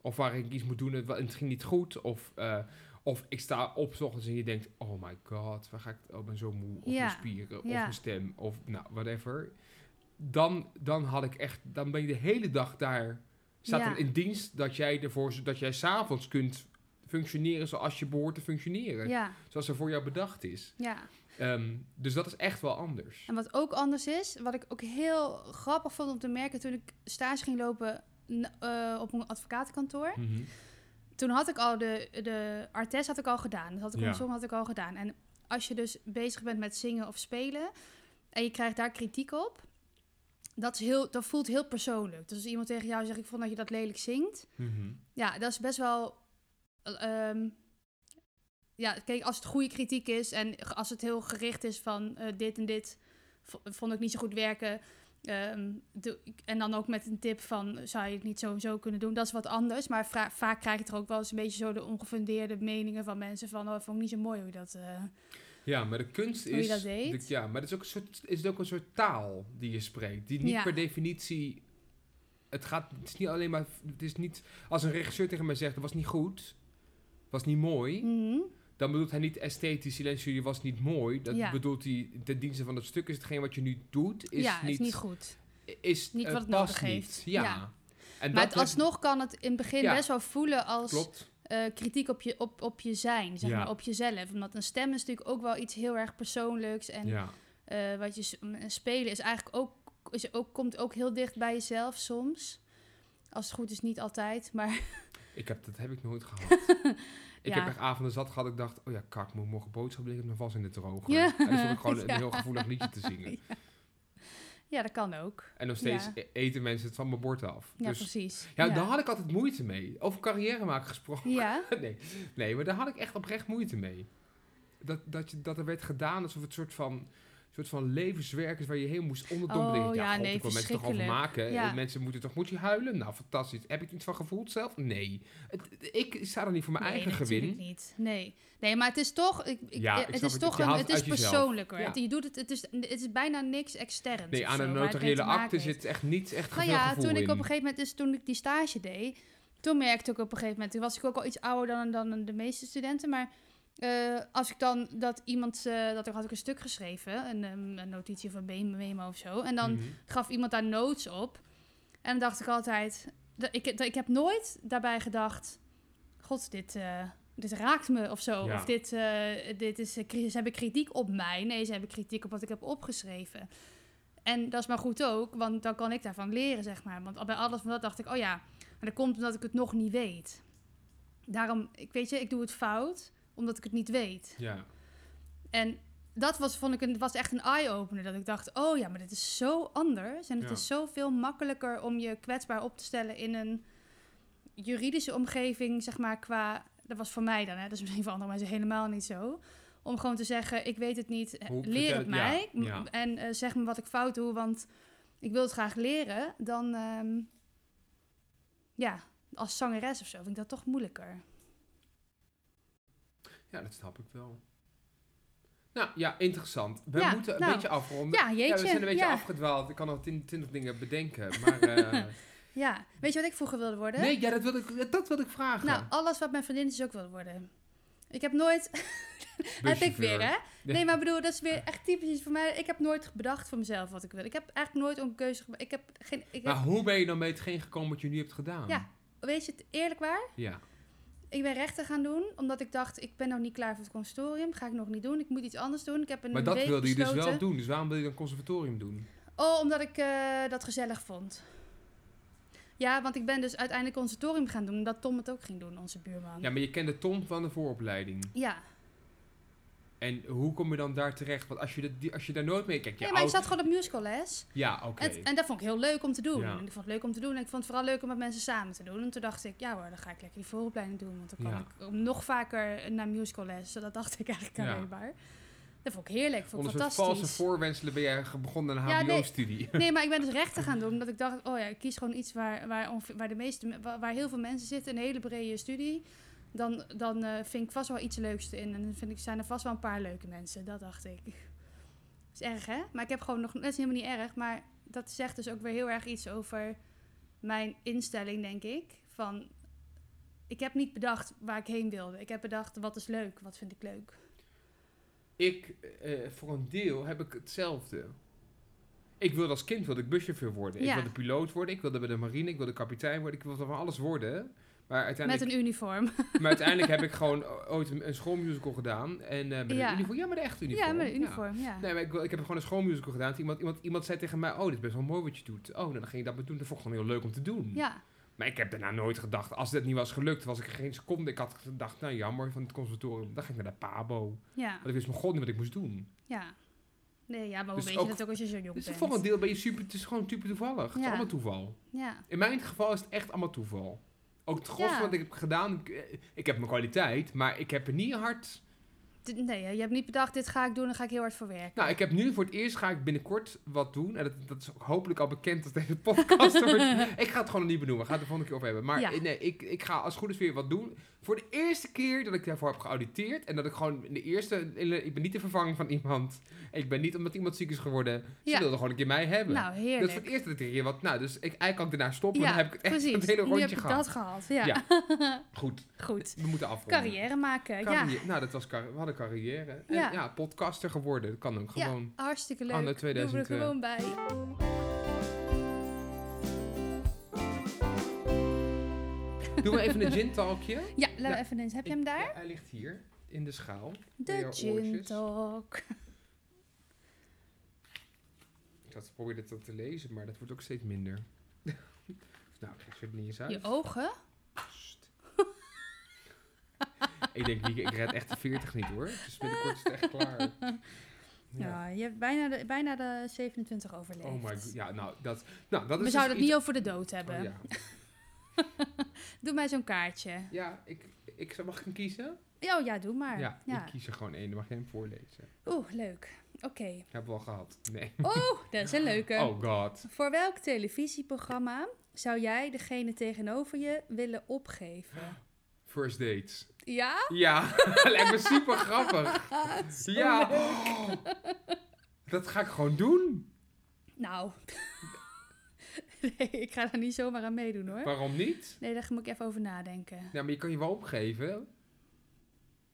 Speaker 3: of waar ik iets moet doen en wa- en het ging niet goed, of, eh, of ik sta op 's ochtends en je denkt, oh my god, waar ga ik, oh, ik ben zo moe, of
Speaker 2: Ja,
Speaker 3: mijn spieren, of
Speaker 2: ja.
Speaker 3: mijn stem, of nou, whatever. Dan, dan had ik echt, dan ben je de hele dag daar, staat
Speaker 2: Ja.
Speaker 3: er in dienst dat jij ervoor, z- dat jij s'avonds kunt functioneren zoals je behoort te functioneren.
Speaker 2: Ja,
Speaker 3: Zoals er voor jou bedacht is.
Speaker 2: ja.
Speaker 3: Ehm, dus dat is echt wel anders.
Speaker 2: En wat ook anders is, wat ik ook heel grappig vond om te merken toen ik stage ging lopen n- eh, op een advocatenkantoor.
Speaker 3: Mhm.
Speaker 2: Toen had ik al de, de artes had ik al gedaan. Dat had ik
Speaker 3: Ja.
Speaker 2: andersom had ik al gedaan. En als je dus bezig bent met zingen of spelen en je krijgt daar kritiek op, dat, is heel, dat voelt heel persoonlijk. Dus als iemand tegen jou zegt, ik vond dat je dat lelijk zingt.
Speaker 3: Mhm.
Speaker 2: Ja, dat is best wel... eh, ehm, ja, kijk, als het goede kritiek is en ge- als het heel gericht is van eh, dit en dit v- vond ik niet zo goed werken. ehm, doe ik- en dan ook met een tip van zou je het niet zo en zo kunnen doen. Dat is wat anders. Maar vra- vaak krijg je er ook wel eens een beetje zo de ongefundeerde meningen van mensen van oh, vond ik niet zo mooi hoe je dat. eh,
Speaker 3: Ja, maar de kunst
Speaker 2: Hoe je
Speaker 3: is.
Speaker 2: dat deed?
Speaker 3: de- ja, maar het is ook een soort, is het ook een soort taal die je spreekt. Die niet
Speaker 2: Ja.
Speaker 3: per definitie. Het gaat. Het is niet alleen maar. Het is niet. Als een regisseur tegen mij zegt: dat was niet goed. Was niet mooi.
Speaker 2: mhm.
Speaker 3: Dan bedoelt hij niet esthetisch. alleen je was niet mooi. Dat
Speaker 2: Ja.
Speaker 3: bedoelt hij. Ten dienste van dat stuk is hetgeen wat je nu doet. Is
Speaker 2: ja,
Speaker 3: niet,
Speaker 2: is niet goed.
Speaker 3: Is,
Speaker 2: Niet
Speaker 3: eh,
Speaker 2: wat het
Speaker 3: past
Speaker 2: nodig heeft.
Speaker 3: niet. Ja.
Speaker 2: Ja.
Speaker 3: En
Speaker 2: maar
Speaker 3: dat
Speaker 2: het, alsnog kan het in het begin
Speaker 3: Ja.
Speaker 2: best wel voelen als
Speaker 3: klopt.
Speaker 2: eh, kritiek op je, op, op je zijn, zeg
Speaker 3: Ja.
Speaker 2: maar, op jezelf. Omdat een stem is natuurlijk ook wel iets heel erg persoonlijks. En
Speaker 3: ja.
Speaker 2: eh, wat je s- m- en spelen is eigenlijk ook, is ook, komt ook heel dicht bij jezelf soms. Als het goed is, niet altijd. Maar
Speaker 3: Ik heb, dat heb ik nooit gehad. Ik
Speaker 2: Ja.
Speaker 3: heb echt avonden zat gehad. Ik dacht, oh ja, kak, moet ik morgen boodschappen liggen. Dan vast in de droger.
Speaker 2: Ja.
Speaker 3: En dan stond ik gewoon een
Speaker 2: Ja.
Speaker 3: heel gevoelig liedje te zingen.
Speaker 2: ja, dat kan ook.
Speaker 3: En nog steeds
Speaker 2: Ja.
Speaker 3: e- eten mensen het van mijn bord af.
Speaker 2: Ja,
Speaker 3: dus,
Speaker 2: precies.
Speaker 3: ja, daar had ik altijd moeite mee. Over carrière maken gesproken.
Speaker 2: Ja,
Speaker 3: nee, nee, maar daar had ik echt oprecht moeite mee. Dat, dat, je, dat er werd gedaan alsof het soort van, soort van levenswerk is waar je heel moest onderdompelen.
Speaker 2: Oh,
Speaker 3: Ik dacht,
Speaker 2: ja,
Speaker 3: god,
Speaker 2: nee,
Speaker 3: ik wil mensen toch over
Speaker 2: verschrikkelijk.
Speaker 3: maken.
Speaker 2: Ja.
Speaker 3: En mensen moeten toch, moet je huilen? Nou, fantastisch. Heb ik er iets van gevoeld zelf? Nee. Het- ik sta er niet voor mijn
Speaker 2: nee,
Speaker 3: eigen
Speaker 2: natuurlijk
Speaker 3: gewin.
Speaker 2: niet. Nee. nee, maar het is toch, ik, ik-
Speaker 3: Ja, ik
Speaker 2: het
Speaker 3: snap
Speaker 2: is
Speaker 3: het.
Speaker 2: toch
Speaker 3: Je
Speaker 2: een,
Speaker 3: haalt
Speaker 2: het
Speaker 3: het
Speaker 2: is
Speaker 3: uit jezelf.
Speaker 2: persoonlijker.
Speaker 3: Ja.
Speaker 2: Het, je doet het, het, is, het is bijna niks externs.
Speaker 3: Nee,
Speaker 2: of
Speaker 3: aan
Speaker 2: zo,
Speaker 3: een
Speaker 2: waar het mee
Speaker 3: notariële
Speaker 2: te maken
Speaker 3: akte
Speaker 2: heeft.
Speaker 3: zit echt niet echt
Speaker 2: Nou
Speaker 3: veel
Speaker 2: ja,
Speaker 3: gevoel
Speaker 2: toen ik
Speaker 3: in.
Speaker 2: op een gegeven moment, dus toen ik die stage deed, toen merkte ik op een gegeven moment, toen was ik ook al iets ouder dan, dan de meeste studenten, maar eh, als ik dan dat iemand, eh, dat ik had ik een stuk geschreven, een, ehm, een notitie van een memo of zo, en dan
Speaker 3: Mhm.
Speaker 2: gaf iemand daar notes op, en dan dacht ik altijd, dat, ik, dat, ik heb nooit daarbij gedacht, god, dit... eh, dit raakt me of zo.
Speaker 3: Ja.
Speaker 2: Of dit, eh, dit is, eh, kri- ze hebben kritiek op mij. Nee, ze hebben kritiek op wat ik heb opgeschreven. En dat is maar goed ook, want dan kan ik daarvan leren, zeg maar. Want al bij alles van dat dacht ik, oh ja, maar dat komt omdat ik het nog niet weet. Daarom, ik weet je, ik doe het fout, omdat ik het niet weet.
Speaker 3: Ja.
Speaker 2: En dat was, vond ik, een, was echt een eye-opener. Dat ik dacht, oh ja, maar dit is zo anders. En het
Speaker 3: Ja.
Speaker 2: is zoveel makkelijker om je kwetsbaar op te stellen in een juridische omgeving, zeg maar, qua... Dat was voor mij dan, hè. Dat is misschien voor andere mensen helemaal niet zo. Om gewoon te zeggen, ik weet het niet,
Speaker 3: Hoe-
Speaker 2: leer
Speaker 3: vertel
Speaker 2: het
Speaker 3: het- ja,
Speaker 2: mij.
Speaker 3: ja.
Speaker 2: M- En eh, zeg me wat ik fout doe, want ik wil het graag leren. Dan, ehm, ja, als zangeres of zo vind ik dat toch moeilijker.
Speaker 3: ja, dat snap ik wel. Nou ja, interessant. We
Speaker 2: Ja,
Speaker 3: moeten een
Speaker 2: nou.
Speaker 3: beetje afronden.
Speaker 2: Ja, jeetje.
Speaker 3: we zijn een beetje
Speaker 2: ja.
Speaker 3: afgedwaald. Ik kan nog twintig dingen bedenken. Maar, eh,
Speaker 2: ja. Weet je wat ik vroeger wilde worden?
Speaker 3: nee, ja, dat wilde ik, dat wilde ik vragen.
Speaker 2: Nou, alles wat mijn vriendin is ook wil worden. Ik heb nooit... heb ik weer, hè?
Speaker 3: Ja.
Speaker 2: Nee, maar ik bedoel, dat is weer echt typisch iets voor mij. Ik heb nooit bedacht voor mezelf wat ik wil. Ik heb eigenlijk nooit om keuze gemaakt. Ik heb geen... Ik heb-
Speaker 3: Maar hoe ben je dan bij hetgeen gekomen wat je nu hebt gedaan?
Speaker 2: Ja. Weet je het eerlijk waar?
Speaker 3: Ja.
Speaker 2: Ik ben rechten gaan doen, omdat ik dacht, ik ben nog niet klaar voor het consortium. Ga ik nog niet doen. Ik moet iets anders doen. Ik heb een
Speaker 3: Maar dat
Speaker 2: week
Speaker 3: wilde je dus
Speaker 2: besloten-
Speaker 3: wel doen. Dus waarom wil je dan conservatorium doen?
Speaker 2: Oh, omdat ik eh, dat gezellig vond. Ja, want ik ben dus uiteindelijk conservatorium gaan doen, omdat Tom het ook ging doen, onze buurman.
Speaker 3: Ja, maar je kende Tom van de vooropleiding.
Speaker 2: Ja.
Speaker 3: En hoe kom je dan daar terecht? Want als je, dat, die- als je daar nooit mee kijkt... Je
Speaker 2: Nee, maar ik
Speaker 3: oud-
Speaker 2: zat gewoon op musicalles.
Speaker 3: Ja, oké.
Speaker 2: En, en dat vond ik heel leuk om te doen.
Speaker 3: Ja.
Speaker 2: Ik vond het leuk om te doen. En ik vond het vooral leuk om met mensen samen te doen. En toen dacht ik, ja hoor, dan ga ik lekker die vooropleiding doen. Want dan kan
Speaker 3: Ja.
Speaker 2: ik nog vaker naar musical les. Dat dacht ik eigenlijk
Speaker 3: Ja.
Speaker 2: alleen maar. Dat vond ik heerlijk. Vond ik
Speaker 3: Onder soort
Speaker 2: fantastisch.
Speaker 3: valse voorwenselen ben jij ge- begonnen aan een
Speaker 2: Ja, nee.
Speaker 3: HBO-studie.
Speaker 2: Nee, maar ik ben dus rechten gaan doen. Omdat ik dacht, oh ja, ik kies gewoon iets waar, waar, ongeveer- waar, de meeste, me- waar, waar heel veel mensen zitten. Een hele brede studie. Dan, dan eh, vind ik vast wel iets leuks in. En dan vind ik, zijn er vast wel een paar leuke mensen. Dat dacht ik. is erg, hè? Maar ik heb gewoon nog... Dat is helemaal niet erg. Maar dat zegt dus ook weer heel erg iets over mijn instelling, denk ik. Van, ik heb niet bedacht waar ik heen wilde. Ik heb bedacht, wat is leuk? Wat vind ik leuk?
Speaker 3: Ik, eh, voor een deel, heb ik hetzelfde. Ik wilde als kind wilde ik buschauffeur worden.
Speaker 2: Ja.
Speaker 3: Ik wilde piloot worden. Ik wilde bij de marine. Ik wilde kapitein worden. Ik wilde van alles worden. Maar
Speaker 2: Met
Speaker 3: uiteindelijk,
Speaker 2: een uniform.
Speaker 3: maar uiteindelijk heb ik gewoon o- ooit een, een schoolmusical gedaan. En eh, met
Speaker 2: Ja.
Speaker 3: een uniform. Ja, met een echt uniform.
Speaker 2: Ja, met een uniform, ja.
Speaker 3: Nee, maar ik, wil- ik heb gewoon een schoolmusical gedaan. Toen Iemand, iemand, iemand zei tegen mij, oh, dit is best wel mooi wat je doet. Oh, nou, dan ging ik dat maar doen. Dat vond ik gewoon heel leuk om te doen.
Speaker 2: Ja,
Speaker 3: Maar ik heb daarna nooit gedacht, als dit niet was gelukt, was ik er geen seconde. Ik had gedacht, nou jammer, van het conservatorium. Dan ga ik naar de PABO.
Speaker 2: ja,
Speaker 3: Want ik wist mijn god niet wat ik moest doen.
Speaker 2: ja. Nee, ja, maar hoe
Speaker 3: Dus
Speaker 2: weet
Speaker 3: ook-
Speaker 2: je dat ook als je zo jong
Speaker 3: Dus
Speaker 2: bent?
Speaker 3: voor een deel ben je super, het is gewoon super toevallig. Het is
Speaker 2: Ja.
Speaker 3: allemaal toeval.
Speaker 2: Ja,
Speaker 3: In mijn geval is het echt allemaal toeval. Ook het gros
Speaker 2: Ja.
Speaker 3: van wat ik heb gedaan, ik, eh, ik heb mijn kwaliteit, maar ik heb er niet hard...
Speaker 2: D- nee, hè, je hebt niet bedacht, dit ga ik doen, daar ga ik heel hard voor werken.
Speaker 3: Nou, ik heb nu voor het eerst ga ik binnenkort wat doen. En dat, dat is ook hopelijk al bekend als deze podcast wordt. Ik ga het gewoon niet benoemen. We gaan het de volgende keer over hebben. Maar
Speaker 2: Ja.
Speaker 3: eh, nee, ik, ik ga als het goed is weer wat doen. Voor de eerste keer dat ik daarvoor heb geauditeerd. En dat ik gewoon in de eerste... Ik ben niet de vervanging van iemand. Ik ben niet omdat iemand ziek is geworden. Ze
Speaker 2: Ja.
Speaker 3: wilden gewoon een keer mij hebben.
Speaker 2: Nou, heerlijk.
Speaker 3: dat is voor het eerst dat ik een keer wat... Nou, dus ik, eigenlijk kan ik daarna stoppen.
Speaker 2: ja,
Speaker 3: maar dan heb ik het echt
Speaker 2: precies.
Speaker 3: het hele
Speaker 2: nu
Speaker 3: rondje
Speaker 2: heb ik
Speaker 3: gehad.
Speaker 2: dat gehad, ja.
Speaker 3: Ja. Goed,
Speaker 2: Goed.
Speaker 3: we moeten afronden.
Speaker 2: Carrière maken, ja.
Speaker 3: Carrière- Nou, dat was carri- we hadden carrière. En ja.
Speaker 2: Ja.
Speaker 3: podcaster geworden. Dat kan ook
Speaker 2: Ja.
Speaker 3: gewoon.
Speaker 2: Hartstikke leuk.
Speaker 3: Anno
Speaker 2: Doen
Speaker 3: 2000,
Speaker 2: we er gewoon bij.
Speaker 3: Doen we even een gin talkje?
Speaker 2: Ja, laten
Speaker 3: Ja.
Speaker 2: we even eens. Heb je
Speaker 3: Ik-
Speaker 2: hem daar?
Speaker 3: ja, hij ligt hier in de schaal. bij
Speaker 2: De
Speaker 3: jouw
Speaker 2: gin
Speaker 3: oortjes.
Speaker 2: talk.
Speaker 3: Ik zat te proberen dat te lezen, maar dat wordt ook steeds minder. nou, ik zit niet eens uit.
Speaker 2: Je ogen?
Speaker 3: Sst. ik denk, niet, ik red echt de 40 niet hoor. Dus binnenkort is het echt klaar.
Speaker 2: Ja, je hebt bijna de, bijna de 27 overleefd.
Speaker 3: Oh my god. Ja, nou, dat, nou, dat
Speaker 2: We
Speaker 3: is
Speaker 2: zouden het
Speaker 3: dus
Speaker 2: niet over de dood
Speaker 3: iets-
Speaker 2: hebben.
Speaker 3: Oh, ja,
Speaker 2: Doe mij zo'n kaartje.
Speaker 3: ja ik, ik, zou- mag ik hem kiezen?
Speaker 2: Ja, oh ja, doe maar.
Speaker 3: ja, ik kies er gewoon één. Dan mag jij hem voorlezen.
Speaker 2: Oeh, leuk. Oké.
Speaker 3: Ik heb hem al gehad. Nee.
Speaker 2: Oeh, dat is een leuke.
Speaker 3: Oh god.
Speaker 2: Voor welk televisieprogramma zou jij degene tegenover je willen opgeven?
Speaker 3: First dates.
Speaker 2: Ja?
Speaker 3: Ja, lijkt me super grappig. ja. Dat ga ik gewoon doen.
Speaker 2: Nou. nee, ik ga daar niet zomaar aan meedoen hoor.
Speaker 3: Waarom niet?
Speaker 2: Nee, daar moet ik even over nadenken.
Speaker 3: Ja, maar je kan je wel opgeven.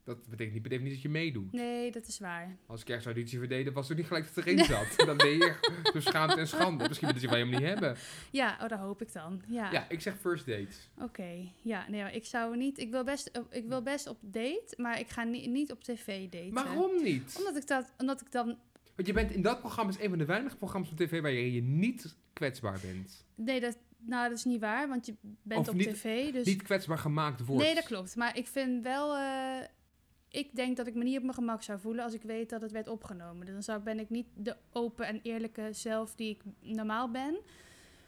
Speaker 3: Dat betekent niet, betekent niet dat je meedoet.
Speaker 2: Nee, dat is waar.
Speaker 3: Als ik ergens auditie verdeden, was er niet gelijk dat het erin zat. Dan ben je echt door schaamte en schande. Misschien willen ze je wel helemaal niet hebben.
Speaker 2: Ja, oh, dat hoop ik dan. Ja.
Speaker 3: Ja, ik zeg first dates.
Speaker 2: Oké. Ja, nee, maar ik zou niet. Ik wil best, eh, ik wil best op date, maar ik ga ni- niet op tv daten.
Speaker 3: Waarom niet?
Speaker 2: Omdat ik dat, omdat ik dan.
Speaker 3: Want je bent in dat programma is een van de weinige programma's op tv waarin je niet kwetsbaar bent.
Speaker 2: Nee, dat, nou, dat is niet waar, want je bent
Speaker 3: Of
Speaker 2: op
Speaker 3: niet-
Speaker 2: tv. Dus
Speaker 3: Niet kwetsbaar gemaakt wordt.
Speaker 2: Nee, dat klopt. Maar ik vind wel. eh, ik denk dat ik me niet op mijn gemak zou voelen als ik weet dat het werd opgenomen. Dan zou, ben ik niet de open en eerlijke zelf die ik normaal ben.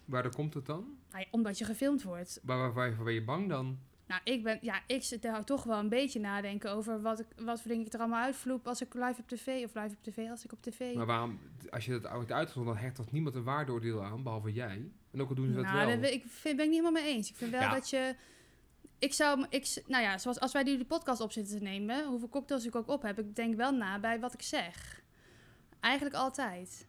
Speaker 3: Waardoor komt het dan?
Speaker 2: Nou ja, omdat je gefilmd wordt.
Speaker 3: Waar, waar, waar, waar ben je bang dan?
Speaker 2: Nou, ik ben. Ja, ik zit daar toch wel een beetje nadenken over wat, ik, wat voor dingen ik er allemaal uitvloep als ik live op tv. Of live op tv als ik op tv.
Speaker 3: Maar waarom, als je dat wordt uitgezonden, dan hecht dat niemand een waardeoordeel aan, behalve jij. En ook al doen ze dat
Speaker 2: Nou,
Speaker 3: wel.
Speaker 2: dat ben ik vind, ben ik niet helemaal mee eens. Ik vind wel
Speaker 3: Ja.
Speaker 2: dat je. Ik zou. Ik, s- nou ja, zoals als wij nu de podcast op zitten te nemen, hoeveel cocktails ik ook op heb, ik denk wel na bij wat ik zeg. Eigenlijk altijd.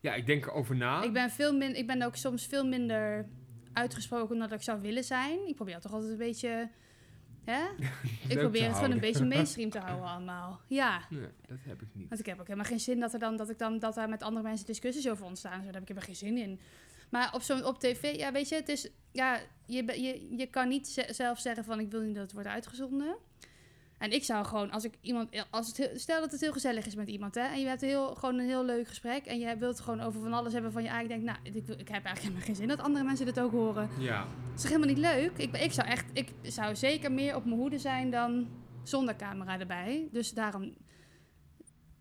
Speaker 3: Ja, ik denk erover na.
Speaker 2: Ik, ben veel min, ik ben ook soms veel minder uitgesproken dan dat ik zou willen zijn. Ik probeer toch altijd een beetje. Hè?
Speaker 3: te
Speaker 2: Ik probeer het gewoon
Speaker 3: houden.
Speaker 2: een beetje mainstream te houden allemaal. Ja.
Speaker 3: Nee, dat heb ik niet.
Speaker 2: Want ik heb ook helemaal geen zin dat, er dan, dat, ik dan, dat daar met andere mensen discussies over ontstaan. Zo, daar heb ik helemaal geen zin in. Maar op, zo'n op tv, ja, weet je, het is, ja, je, be- je, je kan niet ze- zelf zeggen van ik wil niet dat het wordt uitgezonden. En ik zou gewoon, als ik iemand, eh, als het, heel- stel dat het heel gezellig is met iemand, hè, en je hebt heel, gewoon een heel leuk gesprek en je wilt gewoon over van alles hebben van je eigen, denk, nou, ik, wil- ik heb eigenlijk helemaal geen zin dat andere mensen dit ook horen.
Speaker 3: Ja,
Speaker 2: Het is toch helemaal niet leuk? Ik, ben- ik zou echt, ik zou zeker meer op mijn hoede zijn dan zonder camera erbij. Dus daarom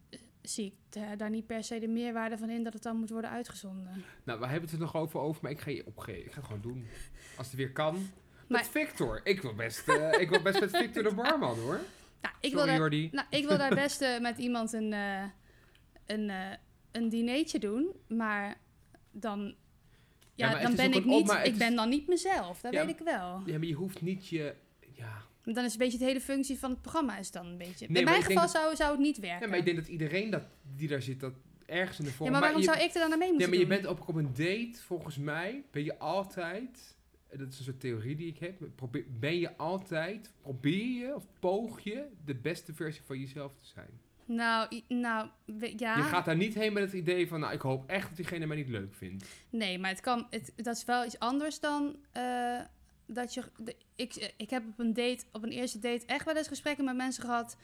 Speaker 2: eh, zie ik da- daar niet per se de meerwaarde van in dat het dan moet worden uitgezonden.
Speaker 3: nou, we hebben het er nog over, over maar ik ga je opgeven. Ik ga het gewoon doen. Als het weer kan.
Speaker 2: Maar-
Speaker 3: Met Victor. Ik wil best, eh, ik wil best met Victor de barman, hoor.
Speaker 2: Nou, ik, wil
Speaker 3: Sorry,
Speaker 2: daar,
Speaker 3: Jordi.
Speaker 2: nou, ik wil daar best eh, met iemand een, eh een, eh, een dinertje doen, maar dan,
Speaker 3: Ja,
Speaker 2: ja,
Speaker 3: maar het
Speaker 2: dan
Speaker 3: is
Speaker 2: ben
Speaker 3: ook
Speaker 2: ik
Speaker 3: een op-
Speaker 2: niet,
Speaker 3: maar het
Speaker 2: ik ben
Speaker 3: is-
Speaker 2: dan niet mezelf, dat
Speaker 3: Ja,
Speaker 2: weet ik wel.
Speaker 3: Ja, maar je hoeft niet je... Ja.
Speaker 2: Want Dan is een beetje de hele functie van het programma is dan een beetje...
Speaker 3: maar
Speaker 2: In mijn
Speaker 3: ik denk
Speaker 2: geval
Speaker 3: dat-
Speaker 2: zou, zou het niet werken.
Speaker 3: ja, maar ik denk dat iedereen dat, die daar zit, dat ergens in de
Speaker 2: Ja,
Speaker 3: vorm...
Speaker 2: maar waarom
Speaker 3: je-
Speaker 2: zou ik er dan aan mee moeten
Speaker 3: Ja, maar je
Speaker 2: doen?
Speaker 3: bent op, op een date, volgens mij, ben je altijd, en dat is een soort theorie die ik heb, probeer, ben je altijd, probeer je of poog je de beste versie van jezelf te zijn.
Speaker 2: Nou, i- nou we- ja.
Speaker 3: Je gaat daar niet heen met het idee van, nou, ik hoop echt dat diegene mij niet leuk vindt.
Speaker 2: Nee, maar het kan, het, dat is wel iets anders dan eh, dat je. de- ik, ik heb op een date, op een eerste date, echt wel eens gesprekken met mensen gehad.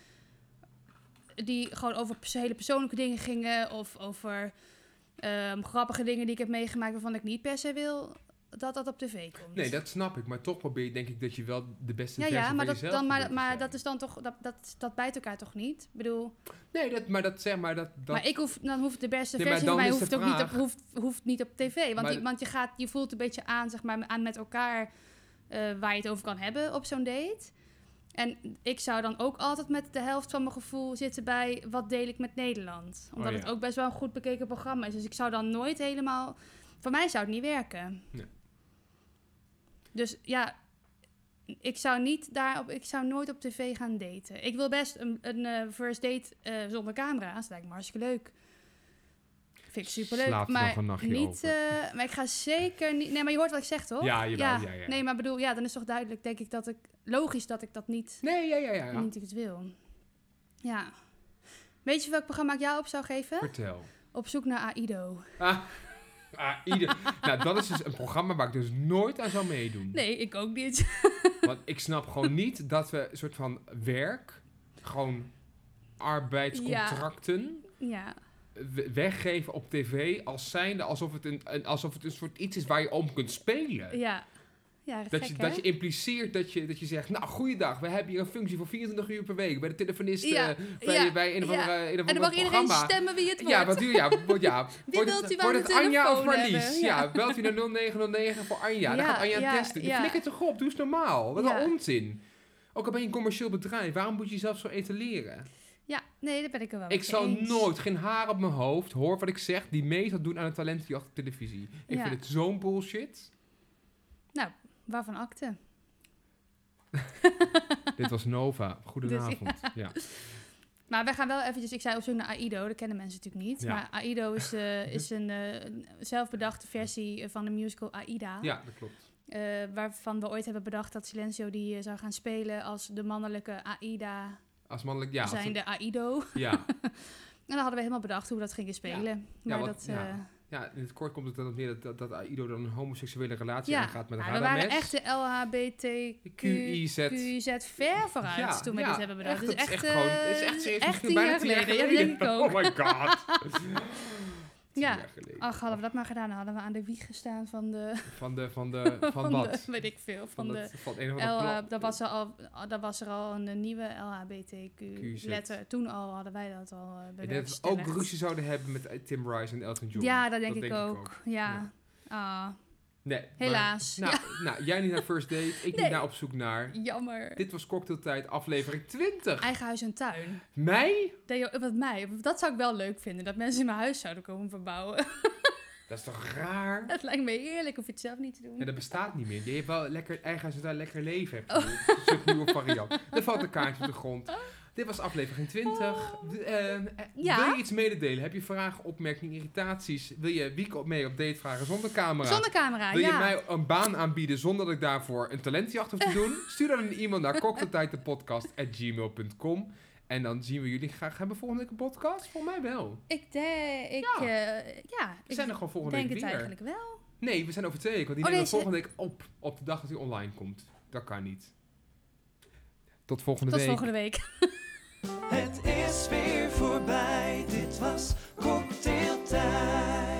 Speaker 2: Die gewoon over pers- hele persoonlijke dingen gingen. Of over ehm, grappige dingen die ik heb meegemaakt waarvan ik niet per se wil dat dat op tv komt.
Speaker 3: Nee, dat snap ik. Maar toch probeer je, denk ik, dat je wel de beste
Speaker 2: ja,
Speaker 3: versie
Speaker 2: ja,
Speaker 3: van
Speaker 2: maar, dat,
Speaker 3: jezelf
Speaker 2: dan, maar,
Speaker 3: probeert te
Speaker 2: maar
Speaker 3: zijn.
Speaker 2: dat is dan toch. Dat, dat, dat bijt elkaar toch niet? Ik bedoel,
Speaker 3: Nee, dat, maar dat zeg maar... Dat, dat...
Speaker 2: maar ik hoef, dan hoeft de beste
Speaker 3: Nee, maar
Speaker 2: versie van
Speaker 3: dan
Speaker 2: mij
Speaker 3: is
Speaker 2: hoeft
Speaker 3: de
Speaker 2: ook niet op,
Speaker 3: vraag-
Speaker 2: hoeft, hoeft niet op tv. Want,
Speaker 3: Maar
Speaker 2: je,
Speaker 3: d-
Speaker 2: want je, gaat, je voelt een beetje aan, zeg maar, aan met elkaar eh, waar je het over kan hebben op zo'n date. En ik zou dan ook altijd met de helft van mijn gevoel zitten bij wat deel ik met Nederland. Omdat
Speaker 3: Oh ja.
Speaker 2: het ook best wel een goed bekeken programma is. Dus ik zou dan nooit helemaal. Voor mij zou het niet werken.
Speaker 3: Nee.
Speaker 2: Dus ja, ik zou niet daarop. Ik zou nooit op tv gaan daten. Ik wil best een, een eh, first date eh, zonder camera's. Lijkt me hartstikke leuk. Vind ik superleuk.
Speaker 3: Slaap er
Speaker 2: maar
Speaker 3: nog een nachtje
Speaker 2: niet.
Speaker 3: over.
Speaker 2: eh, maar ik ga zeker niet. Nee, maar je hoort wat ik zeg, toch?
Speaker 3: Ja, jawel, ja, ja.
Speaker 2: Nee, maar bedoel, ja, dan is toch duidelijk, denk ik, dat ik logisch dat ik dat niet,
Speaker 3: Nee, ja, ja, ja. ja.
Speaker 2: niet ik het wil. Ja. Weet je welk programma ik jou op zou geven?
Speaker 3: Vertel.
Speaker 2: Op zoek naar Aido.
Speaker 3: Ah, ah, ieder... nou, dat is dus een programma waar ik dus nooit aan zou meedoen.
Speaker 2: Nee, ik ook niet.
Speaker 3: Want ik snap gewoon niet dat we een soort van werk, gewoon arbeidscontracten,
Speaker 2: ja.
Speaker 3: we- weggeven op tv als zijnde alsof het een, een- alsof het een soort iets is waar je om kunt spelen.
Speaker 2: Ja. Ja,
Speaker 3: Dat
Speaker 2: gek,
Speaker 3: je,
Speaker 2: hè?
Speaker 3: dat je impliceert dat je, dat je zegt, nou goeiedag, we hebben hier een functie van 24 uur per week bij de telefonist,
Speaker 2: Ja,
Speaker 3: eh, bij,
Speaker 2: ja,
Speaker 3: bij een of andere, een of
Speaker 2: En dan
Speaker 3: ander
Speaker 2: mag iedereen
Speaker 3: programma.
Speaker 2: stemmen wie het wordt.
Speaker 3: Ja, wat duur, ja. wo- ja.
Speaker 2: Wie
Speaker 3: wordt
Speaker 2: wilt
Speaker 3: het,
Speaker 2: u aan
Speaker 3: wordt
Speaker 2: de
Speaker 3: het Anja of
Speaker 2: telefoon
Speaker 3: Marlies?
Speaker 2: hebben?
Speaker 3: Ja.
Speaker 2: Ja.
Speaker 3: belt u naar 0909 voor Anja.
Speaker 2: Ja,
Speaker 3: dan gaat Anja
Speaker 2: ja,
Speaker 3: testen. Die
Speaker 2: ja.
Speaker 3: flikkert toch op, doe eens normaal. Wat
Speaker 2: Ja.
Speaker 3: een onzin. Ook al ben je een commercieel bedrijf, waarom moet je jezelf zo etaleren?
Speaker 2: Ja, nee, daar ben ik er wel
Speaker 3: Ik
Speaker 2: mee
Speaker 3: zal
Speaker 2: eens.
Speaker 3: nooit, geen haar op mijn hoofd, hoor wat ik zeg, die mee zal doen aan het talentenjacht op televisie. Ik
Speaker 2: Ja.
Speaker 3: vind het zo'n bullshit.
Speaker 2: Waarvan akte?
Speaker 3: Dit was Nova. Goedenavond.
Speaker 2: Dus
Speaker 3: ja.
Speaker 2: Maar we gaan wel eventjes, ik zei op zoek naar AIDO, dat kennen mensen natuurlijk niet.
Speaker 3: Ja.
Speaker 2: Maar AIDO is, eh, is een eh, een zelfbedachte versie eh, van de musical AIDA.
Speaker 3: ja, dat klopt.
Speaker 2: Eh, waarvan we ooit hebben bedacht dat Silencio die eh, zou gaan spelen als de mannelijke AIDA,
Speaker 3: Als mannelijk, ja. als
Speaker 2: zijn
Speaker 3: het-
Speaker 2: de AIDO. En
Speaker 3: ja.
Speaker 2: dan hadden we helemaal bedacht hoe we dat gingen spelen. Maar
Speaker 3: wat-
Speaker 2: dat,
Speaker 3: ja.
Speaker 2: eh,
Speaker 3: ja, in het kort komt het dan op neer dat, dat, dat Aido dan een homoseksuele relatie aangaat met een
Speaker 2: Ja,
Speaker 3: ja,
Speaker 2: we waren echt de LHBTQIZ
Speaker 3: QIZ.
Speaker 2: ver vooruit
Speaker 3: Ja,
Speaker 2: toen we
Speaker 3: ja,
Speaker 2: dit hebben bedacht. Dus
Speaker 3: echt, dat is echt
Speaker 2: eh,
Speaker 3: gewoon- het is echt serieus misschien
Speaker 2: tien
Speaker 3: bijna
Speaker 2: jaar
Speaker 3: tien jaar
Speaker 2: geleden. Ja, dat
Speaker 3: geleden.
Speaker 2: denk ik ook.
Speaker 3: Oh my god. Tien
Speaker 2: Ja.
Speaker 3: jaar geleden.
Speaker 2: Ach, hadden we dat maar gedaan, dan hadden we aan de wieg gestaan van de...
Speaker 3: Van de, van de, Eh, van,
Speaker 2: van
Speaker 3: wat?
Speaker 2: de- weet ik veel, van, de...
Speaker 3: het- van een of ander
Speaker 2: L, eh,
Speaker 3: blad.
Speaker 2: dat, was er al, dat was er al een eh, nieuwe LHBTQ
Speaker 3: QZ.
Speaker 2: letter. Toen al hadden wij dat al eh,
Speaker 3: Ik denk dat we ook
Speaker 2: bewerkstelligd.
Speaker 3: ruzie zouden hebben met eh, Tim Rice en Elton John.
Speaker 2: Ja, dat denk, ik, ook. Ja. Ah,
Speaker 3: Nee, maar-
Speaker 2: Helaas.
Speaker 3: nou, nou, jij niet naar First Date, ik
Speaker 2: Nee.
Speaker 3: niet naar Op Zoek Naar.
Speaker 2: jammer.
Speaker 3: Dit was Cocktailtijd, aflevering 20.
Speaker 2: Eigen huis en tuin.
Speaker 3: Mei?
Speaker 2: Deo, eh, wat mij, dat zou ik wel leuk vinden. Dat mensen in mijn huis zouden komen verbouwen.
Speaker 3: Dat is toch raar?
Speaker 2: dat lijkt me eerlijk. Hoef je het zelf niet te doen.
Speaker 3: Ja, dat bestaat niet meer. Je hebt wel lekker eigen huis en tuin, lekker leven.
Speaker 2: Oh.
Speaker 3: Heb je. Dat is een nieuwe variant. Er valt een kaartje op de grond. Dit was aflevering 20. W- eh, eh,
Speaker 2: Oh. Ja.
Speaker 3: Wil je iets mededelen? Heb je vragen, opmerkingen, irritaties? Wil je Wieke op mee op date vragen zonder camera?
Speaker 2: Zonder camera,
Speaker 3: wil je
Speaker 2: ja.
Speaker 3: mij een baan aanbieden zonder dat ik daarvoor een talentjacht hoef te doen? Stuur dan een e-mail naar cocktailtijddepodcast.gmail.com En dan zien we jullie graag. Hebben we volgende week een podcast? Volgens mij wel.
Speaker 2: Ik denk... Ik,
Speaker 3: Ja.
Speaker 2: ja. ja
Speaker 3: We zijn
Speaker 2: ik
Speaker 3: er gewoon volgende
Speaker 2: denk
Speaker 3: week
Speaker 2: het
Speaker 3: weer.
Speaker 2: eigenlijk wel.
Speaker 3: Nee, we zijn over twee weken. Want die
Speaker 2: Oh,
Speaker 3: nemen we
Speaker 2: deze-
Speaker 3: volgende week op. Op de dag dat hij online komt. Dat kan niet. Tot volgende
Speaker 2: Tot
Speaker 3: week.
Speaker 2: volgende week.
Speaker 1: Het is weer voorbij, dit was cocktailtijd.